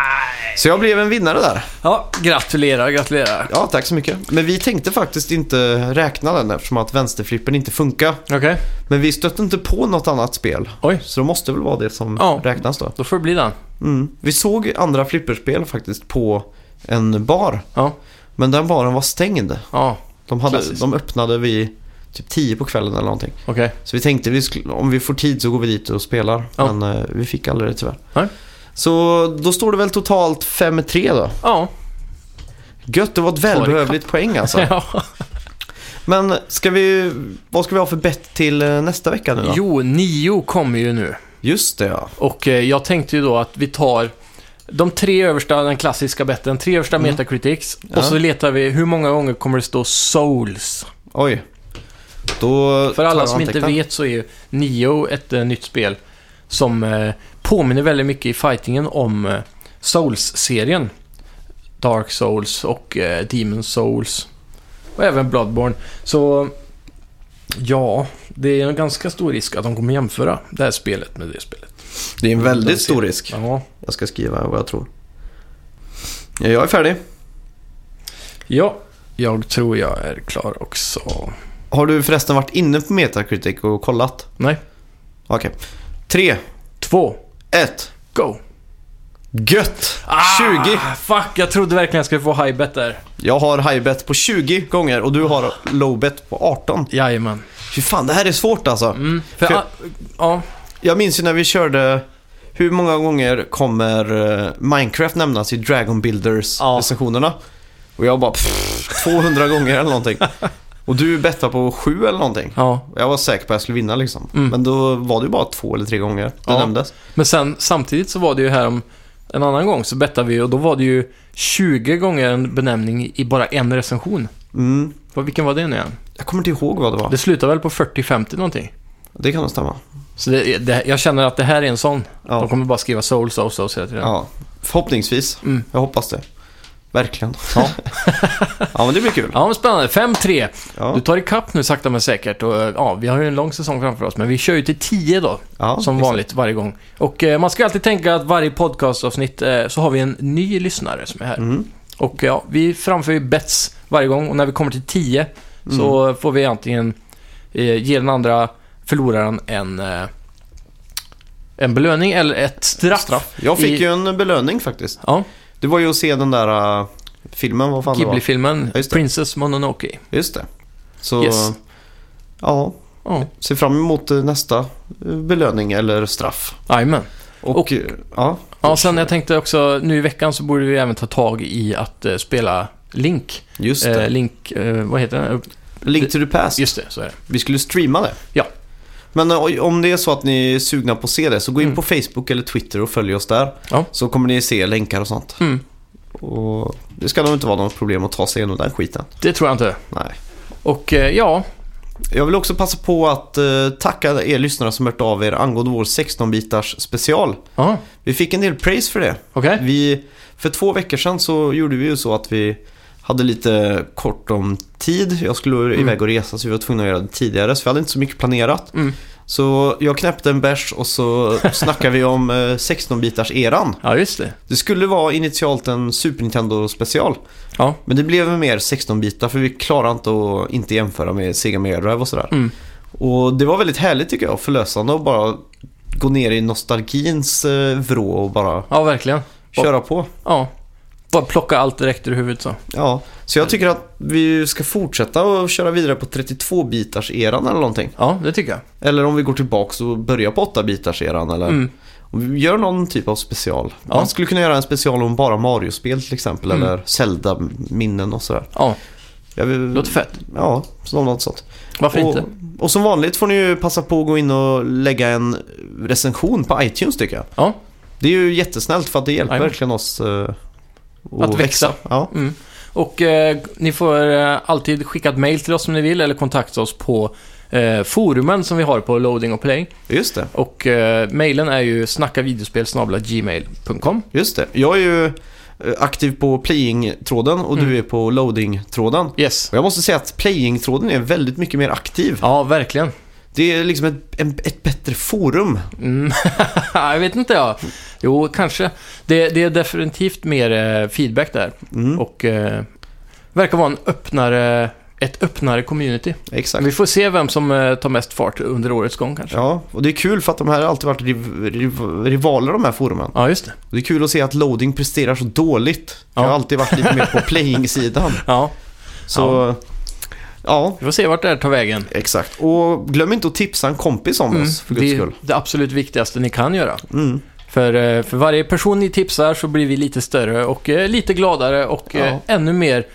Speaker 1: Så jag blev en vinnare där.
Speaker 2: Ja, gratulerar, gratulerar.
Speaker 1: Ja, tack så mycket. Men vi tänkte faktiskt inte räkna den eftersom att vänsterflippen inte funkar.
Speaker 2: Okej.
Speaker 1: Men vi stötte inte på något annat spel.
Speaker 2: Oj.
Speaker 1: Så det måste väl vara det som
Speaker 2: Ja.
Speaker 1: räknas då.
Speaker 2: Då får det bli den.
Speaker 1: Mm. Vi såg andra flipperspel faktiskt på en bar.
Speaker 2: Ja.
Speaker 1: Men den baren var stängd.
Speaker 2: Ja.
Speaker 1: De, hade,
Speaker 2: Klassiskt.
Speaker 1: de öppnade vid typ 10 på kvällen eller någonting.
Speaker 2: Okej.
Speaker 1: Så vi tänkte vi skulle, om vi får tid så går vi dit och spelar.
Speaker 2: Ja.
Speaker 1: Men eh, vi fick aldrig det tyvärr.
Speaker 2: Nej.
Speaker 1: Så då står det väl totalt 5-3 då.
Speaker 2: Ja.
Speaker 1: Gött, det var ett välbehövligt poäng alltså.
Speaker 2: ja.
Speaker 1: Men ska vi, vad ska vi ha för bett till eh, nästa vecka nu då?
Speaker 2: Jo, nio kommer ju nu.
Speaker 1: Just det ja.
Speaker 2: Och eh, jag tänkte ju då att vi tar de tre översta, den klassiska betten, tre översta
Speaker 1: Mm.
Speaker 2: Metacritics.
Speaker 1: Ja.
Speaker 2: Och så letar vi hur många gånger kommer det stå Souls?
Speaker 1: Oj. Då
Speaker 2: För
Speaker 1: tar
Speaker 2: alla
Speaker 1: jag
Speaker 2: som inte
Speaker 1: antecknar.
Speaker 2: vet så är ju Nio ett eh, nytt spel som eh, påminner väldigt mycket i fightingen om eh, Souls-serien. Dark Souls och eh, Demon Souls. Och även Bloodborne. Så ja, det är en ganska stor risk att de kommer jämföra det här spelet med det spelet.
Speaker 1: Det är en
Speaker 2: Mm.
Speaker 1: väldigt stor risk.
Speaker 2: Ja,
Speaker 1: Jag ska skriva vad jag tror. Ja, jag är färdig.
Speaker 2: ja jag tror jag är klar också.
Speaker 1: Har du förresten varit inne på Metacritic och kollat?
Speaker 2: Nej,
Speaker 1: Okej. Tre,
Speaker 2: två,
Speaker 1: ett,
Speaker 2: go!
Speaker 1: gött!
Speaker 2: Ah!
Speaker 1: 20!
Speaker 2: Fuck, jag trodde verkligen jag skulle få high bet där.
Speaker 1: Jag har highbet på 20 gånger och du har lowbet på 18.
Speaker 2: Jajamän.
Speaker 1: Fy fan, det här är svårt alltså.
Speaker 2: Mm, för,
Speaker 1: För-
Speaker 2: a, ja,
Speaker 1: Jag minns ju när vi körde... Hur många gånger kommer eh, Minecraft nämnas i Dragon
Speaker 2: Ja.
Speaker 1: Builders-sessionerna? Och jag bara pff, 200 gånger eller någonting. Och du bettade på 7 eller någonting.
Speaker 2: ja.
Speaker 1: Jag var säker på att jag skulle vinna liksom.
Speaker 2: Mm.
Speaker 1: Men då var det ju bara två eller tre gånger det
Speaker 2: Ja.
Speaker 1: nämndes.
Speaker 2: Men sen samtidigt så var det ju här om en annan gång så bettade vi och då var det ju 20 gånger en benämning i bara en recension.
Speaker 1: Mm.
Speaker 2: Vad- Vilken var det nu igen?
Speaker 1: Jag kommer inte ihåg vad det var.
Speaker 2: Det slutade väl på 40-50 någonting.
Speaker 1: Det kan nog stämma.
Speaker 2: Så det, det, jag känner att det här är en sån.
Speaker 1: Ja.
Speaker 2: De kommer bara skriva soul, soul, soul hela tiden.
Speaker 1: Ja. Förhoppningsvis.
Speaker 2: Mm.
Speaker 1: Jag hoppas det. Verkligen. Ja. ja, men det blir kul.
Speaker 2: Ja, men spännande. 5-3.
Speaker 1: Ja.
Speaker 2: Du tar ikapp nu sakta men säkert. Och, eh, ja, vi har ju en lång säsong framför oss, men vi kör ju till 10 då.
Speaker 1: Ja,
Speaker 2: som
Speaker 1: exakt.
Speaker 2: vanligt varje gång. Och eh, man ska alltid tänka att varje podcastavsnitt eh, så har vi en ny lyssnare som är här.
Speaker 1: Mm.
Speaker 2: Och ja, vi framför ju bets varje gång och när vi kommer till 10
Speaker 1: Mm.
Speaker 2: så får vi antingen eh, ge den andra förloraren en, eh, en belöning eller ett straff.
Speaker 1: Jag fick
Speaker 2: i-
Speaker 1: ju en belöning faktiskt.
Speaker 2: Ja,
Speaker 1: Det var ju att se den där äh, filmen, vad fan det
Speaker 2: Ghibli-filmen
Speaker 1: Ja, just det.
Speaker 2: Princess Mononoke.
Speaker 1: var. Just det. Så,
Speaker 2: Yes.
Speaker 1: ja.
Speaker 2: Ja,
Speaker 1: Ser fram emot eh, nästa belöning eller straff.
Speaker 2: Jajamän.
Speaker 1: Och,
Speaker 2: Och-
Speaker 1: eh, ja,
Speaker 2: Ja, sen jag tänkte också, nu i veckan så borde vi även ta tag i att eh, spela Link.
Speaker 1: just det.
Speaker 2: Eh, Link, eh, vad heter den?
Speaker 1: Link to the past.
Speaker 2: Just det, så är det.
Speaker 1: Vi skulle streama det.
Speaker 2: Ja.
Speaker 1: Men eh, oj, om det är så att ni är sugna på att se det så gå in
Speaker 2: Mm.
Speaker 1: på Facebook eller Twitter och följ oss där.
Speaker 2: Ja.
Speaker 1: Så kommer ni se länkar och sånt.
Speaker 2: Mm.
Speaker 1: Och det ska nog inte vara något problem att ta sig igenom den skiten.
Speaker 2: Det tror jag inte.
Speaker 1: Nej.
Speaker 2: Och eh, ja,
Speaker 1: Jag vill också passa på att eh, tacka er lyssnare som hört av er angående vår 16-bitars special.
Speaker 2: ja,
Speaker 1: Vi fick en del praise för det.
Speaker 2: okej.
Speaker 1: Vi, för två veckor sedan så gjorde vi ju så att vi hade lite kort om tid. Jag skulle iväg och resa så vi var tvungna att göra det tidigare. Så vi hade inte så mycket planerat.
Speaker 2: Mm.
Speaker 1: Så jag knäppte en bärs och så snackade vi om eh, 16-bitars-eran.
Speaker 2: Ja, just det.
Speaker 1: Det skulle vara initialt en Super Nintendo special.
Speaker 2: Ja.
Speaker 1: Men det blev mer 16-bitar för vi klarar inte att inte jämföra med Sega Mega Drive och sådär.
Speaker 2: Mm.
Speaker 1: Och det var väldigt härligt tycker jag, förlösande att bara gå ner i nostalgins eh, vrå och bara
Speaker 2: Ja, verkligen. Och-
Speaker 1: köra på.
Speaker 2: Ja. Bara plocka allt direkt ur huvudet så.
Speaker 1: Ja, så jag tycker att vi ska fortsätta och köra vidare på 32-bitars-eran eller någonting.
Speaker 2: Ja, det tycker jag.
Speaker 1: Eller om vi går tillbaka och börjar på 8-bitars-eran eller...
Speaker 2: Mm.
Speaker 1: Och vi gör någon typ av special.
Speaker 2: Ja. Mm.
Speaker 1: Man skulle kunna göra en special om bara Mario-spel till exempel eller Zelda-minnen och sådär.
Speaker 2: Ja,
Speaker 1: Jag
Speaker 2: det
Speaker 1: vill...
Speaker 2: låter fett.
Speaker 1: Ja, som något sånt.
Speaker 2: Varför
Speaker 1: och,
Speaker 2: inte?
Speaker 1: Och som vanligt får ni ju passa på att gå in och lägga en recension på iTunes tycker jag.
Speaker 2: Ja.
Speaker 1: Det är ju jättesnällt för att det hjälper
Speaker 2: Jajamän.
Speaker 1: verkligen oss eh,
Speaker 2: Att växa.
Speaker 1: Ja.
Speaker 2: Mm. Och eh, ni får eh, alltid skicka ett mail till oss om ni vill eller kontakta oss på eh, forumen som vi har på Loading och Play.
Speaker 1: Just det,
Speaker 2: Och eh, mailen är ju snackavideospel.gmail.com.
Speaker 1: just det. Jag är ju eh, aktiv på playing-tråden och
Speaker 2: Mm.
Speaker 1: du är på loading-tråden.
Speaker 2: Yes.
Speaker 1: Och jag måste säga att playing-tråden är väldigt mycket mer aktiv.
Speaker 2: Ja, verkligen.
Speaker 1: Det är liksom ett, en, ett bättre forum.
Speaker 2: Mm. jag vet inte jag. Jo, kanske. Det, det är definitivt mer eh, feedback där.
Speaker 1: Mm,
Speaker 2: Och eh, verkar vara en öppnare, ett öppnare community.
Speaker 1: exakt.
Speaker 2: Vi får se vem som eh, tar mest fart under årets gång kanske. Ja,
Speaker 1: Ja, och det är kul för att de här har alltid varit riv, riv, rivaler de här forumen.
Speaker 2: just det.
Speaker 1: Det är kul att se att loading presterar så dåligt. Jag har
Speaker 2: Ja.
Speaker 1: alltid varit lite mer på playing-sidan.
Speaker 2: Ja,
Speaker 1: Så, ja.
Speaker 2: Ja. vi får se vart det här tar vägen.
Speaker 1: exakt. Och glöm inte att tipsa en kompis om oss, för guds
Speaker 2: Mm, det är
Speaker 1: skull.
Speaker 2: det absolut viktigaste ni kan göra.
Speaker 1: Mm.
Speaker 2: För, eh, för varje person ni tipsar så blir vi lite större och eh, lite gladare och eh,
Speaker 1: Ja.
Speaker 2: ännu mer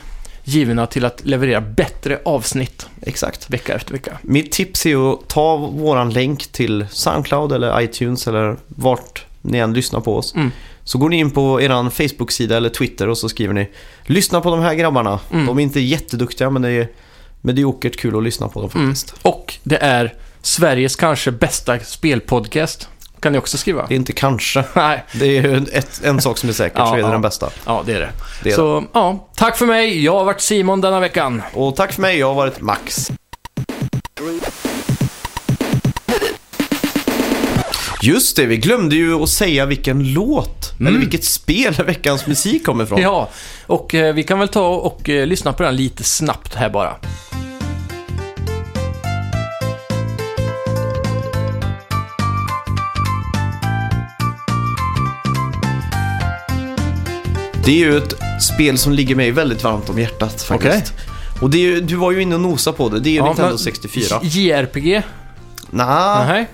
Speaker 2: givna till att leverera bättre avsnitt
Speaker 1: Exakt.
Speaker 2: vecka efter vecka.
Speaker 1: Mitt tips är ju att ta våran länk till Soundcloud eller iTunes eller vart ni än lyssnar på oss.
Speaker 2: Mm.
Speaker 1: Så går ni in på eran Facebook-sida eller Twitter och så skriver ni Lyssna på de här grabbarna.
Speaker 2: Mm.
Speaker 1: De är inte jätteduktiga men det är mediokert kul att lyssna på dem
Speaker 2: Mm.
Speaker 1: faktiskt.
Speaker 2: Och det är Sveriges kanske bästa spelpodcast. Kan ni också skriva?
Speaker 1: Det är inte kanske.
Speaker 2: Nej,
Speaker 1: Det är ju ett, en sak som är säker så
Speaker 2: Ja,
Speaker 1: är det
Speaker 2: ja.
Speaker 1: den bästa.
Speaker 2: ja det är det.
Speaker 1: Det är
Speaker 2: så, ja. Tack för mig. Jag har varit Simon denna veckan.
Speaker 1: Och tack för mig, jag har varit Max. Just det, vi glömde ju att säga vilken låt, eller vilket spel veckans musik kommer ifrån.
Speaker 2: Mm. Ja, och eh, vi kan väl ta och eh, lyssna på den lite snabbt här bara.
Speaker 1: Det är ju ett spel som ligger mig väldigt varmt om hjärtat faktiskt. Och det är ju, du var ju inne och nosade på det, det är ju
Speaker 2: Ja,
Speaker 1: Nintendo
Speaker 2: men-
Speaker 1: 64.
Speaker 2: JRPG?
Speaker 1: Nja,
Speaker 2: Nej.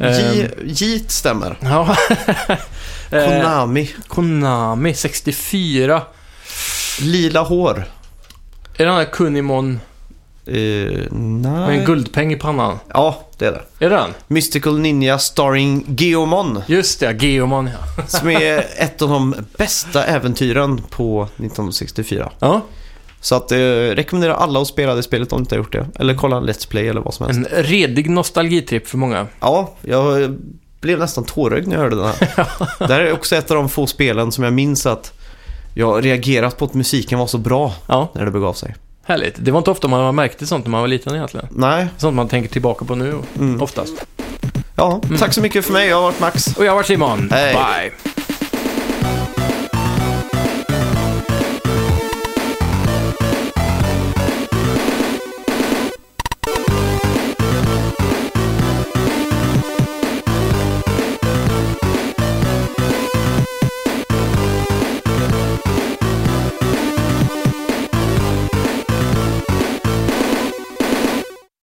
Speaker 2: Ehm,
Speaker 1: J- Jeet stämmer.
Speaker 2: Ja. Eh,
Speaker 1: Konami,
Speaker 2: Konami 64.
Speaker 1: lila hår.
Speaker 2: Är det den där Kunimon
Speaker 1: Uh,
Speaker 2: med en
Speaker 1: nej.
Speaker 2: guldpeng i pannan?
Speaker 1: Ja, det är det.
Speaker 2: Är det den?
Speaker 1: Mystical Ninja starring Geomon.
Speaker 2: Just det, Geomon ja.
Speaker 1: Som är ett av de bästa äventyren på 1964.
Speaker 2: ja.
Speaker 1: Så att eh, rekommenderar alla att spela det spelet om ni inte har gjort det. Eller kolla en Let's Play eller vad som helst.
Speaker 2: En redig nostalgitripp för många.
Speaker 1: Ja, jag eh, blev nästan tårögd när jag hörde den här. det här är också ett av de få spelen som jag minns att jag har reagerat på att musiken var så bra
Speaker 2: Ja,
Speaker 1: när det begav sig.
Speaker 2: härligt. Det var inte ofta man märkte sånt när man var liten egentligen.
Speaker 1: Nej,
Speaker 2: Sånt man tänker tillbaka på nu
Speaker 1: Mm.
Speaker 2: oftast.
Speaker 1: ja. Tack så mycket för mig. Jag har varit Max.
Speaker 2: Och jag har varit Simon.
Speaker 1: Hej.
Speaker 2: Bye.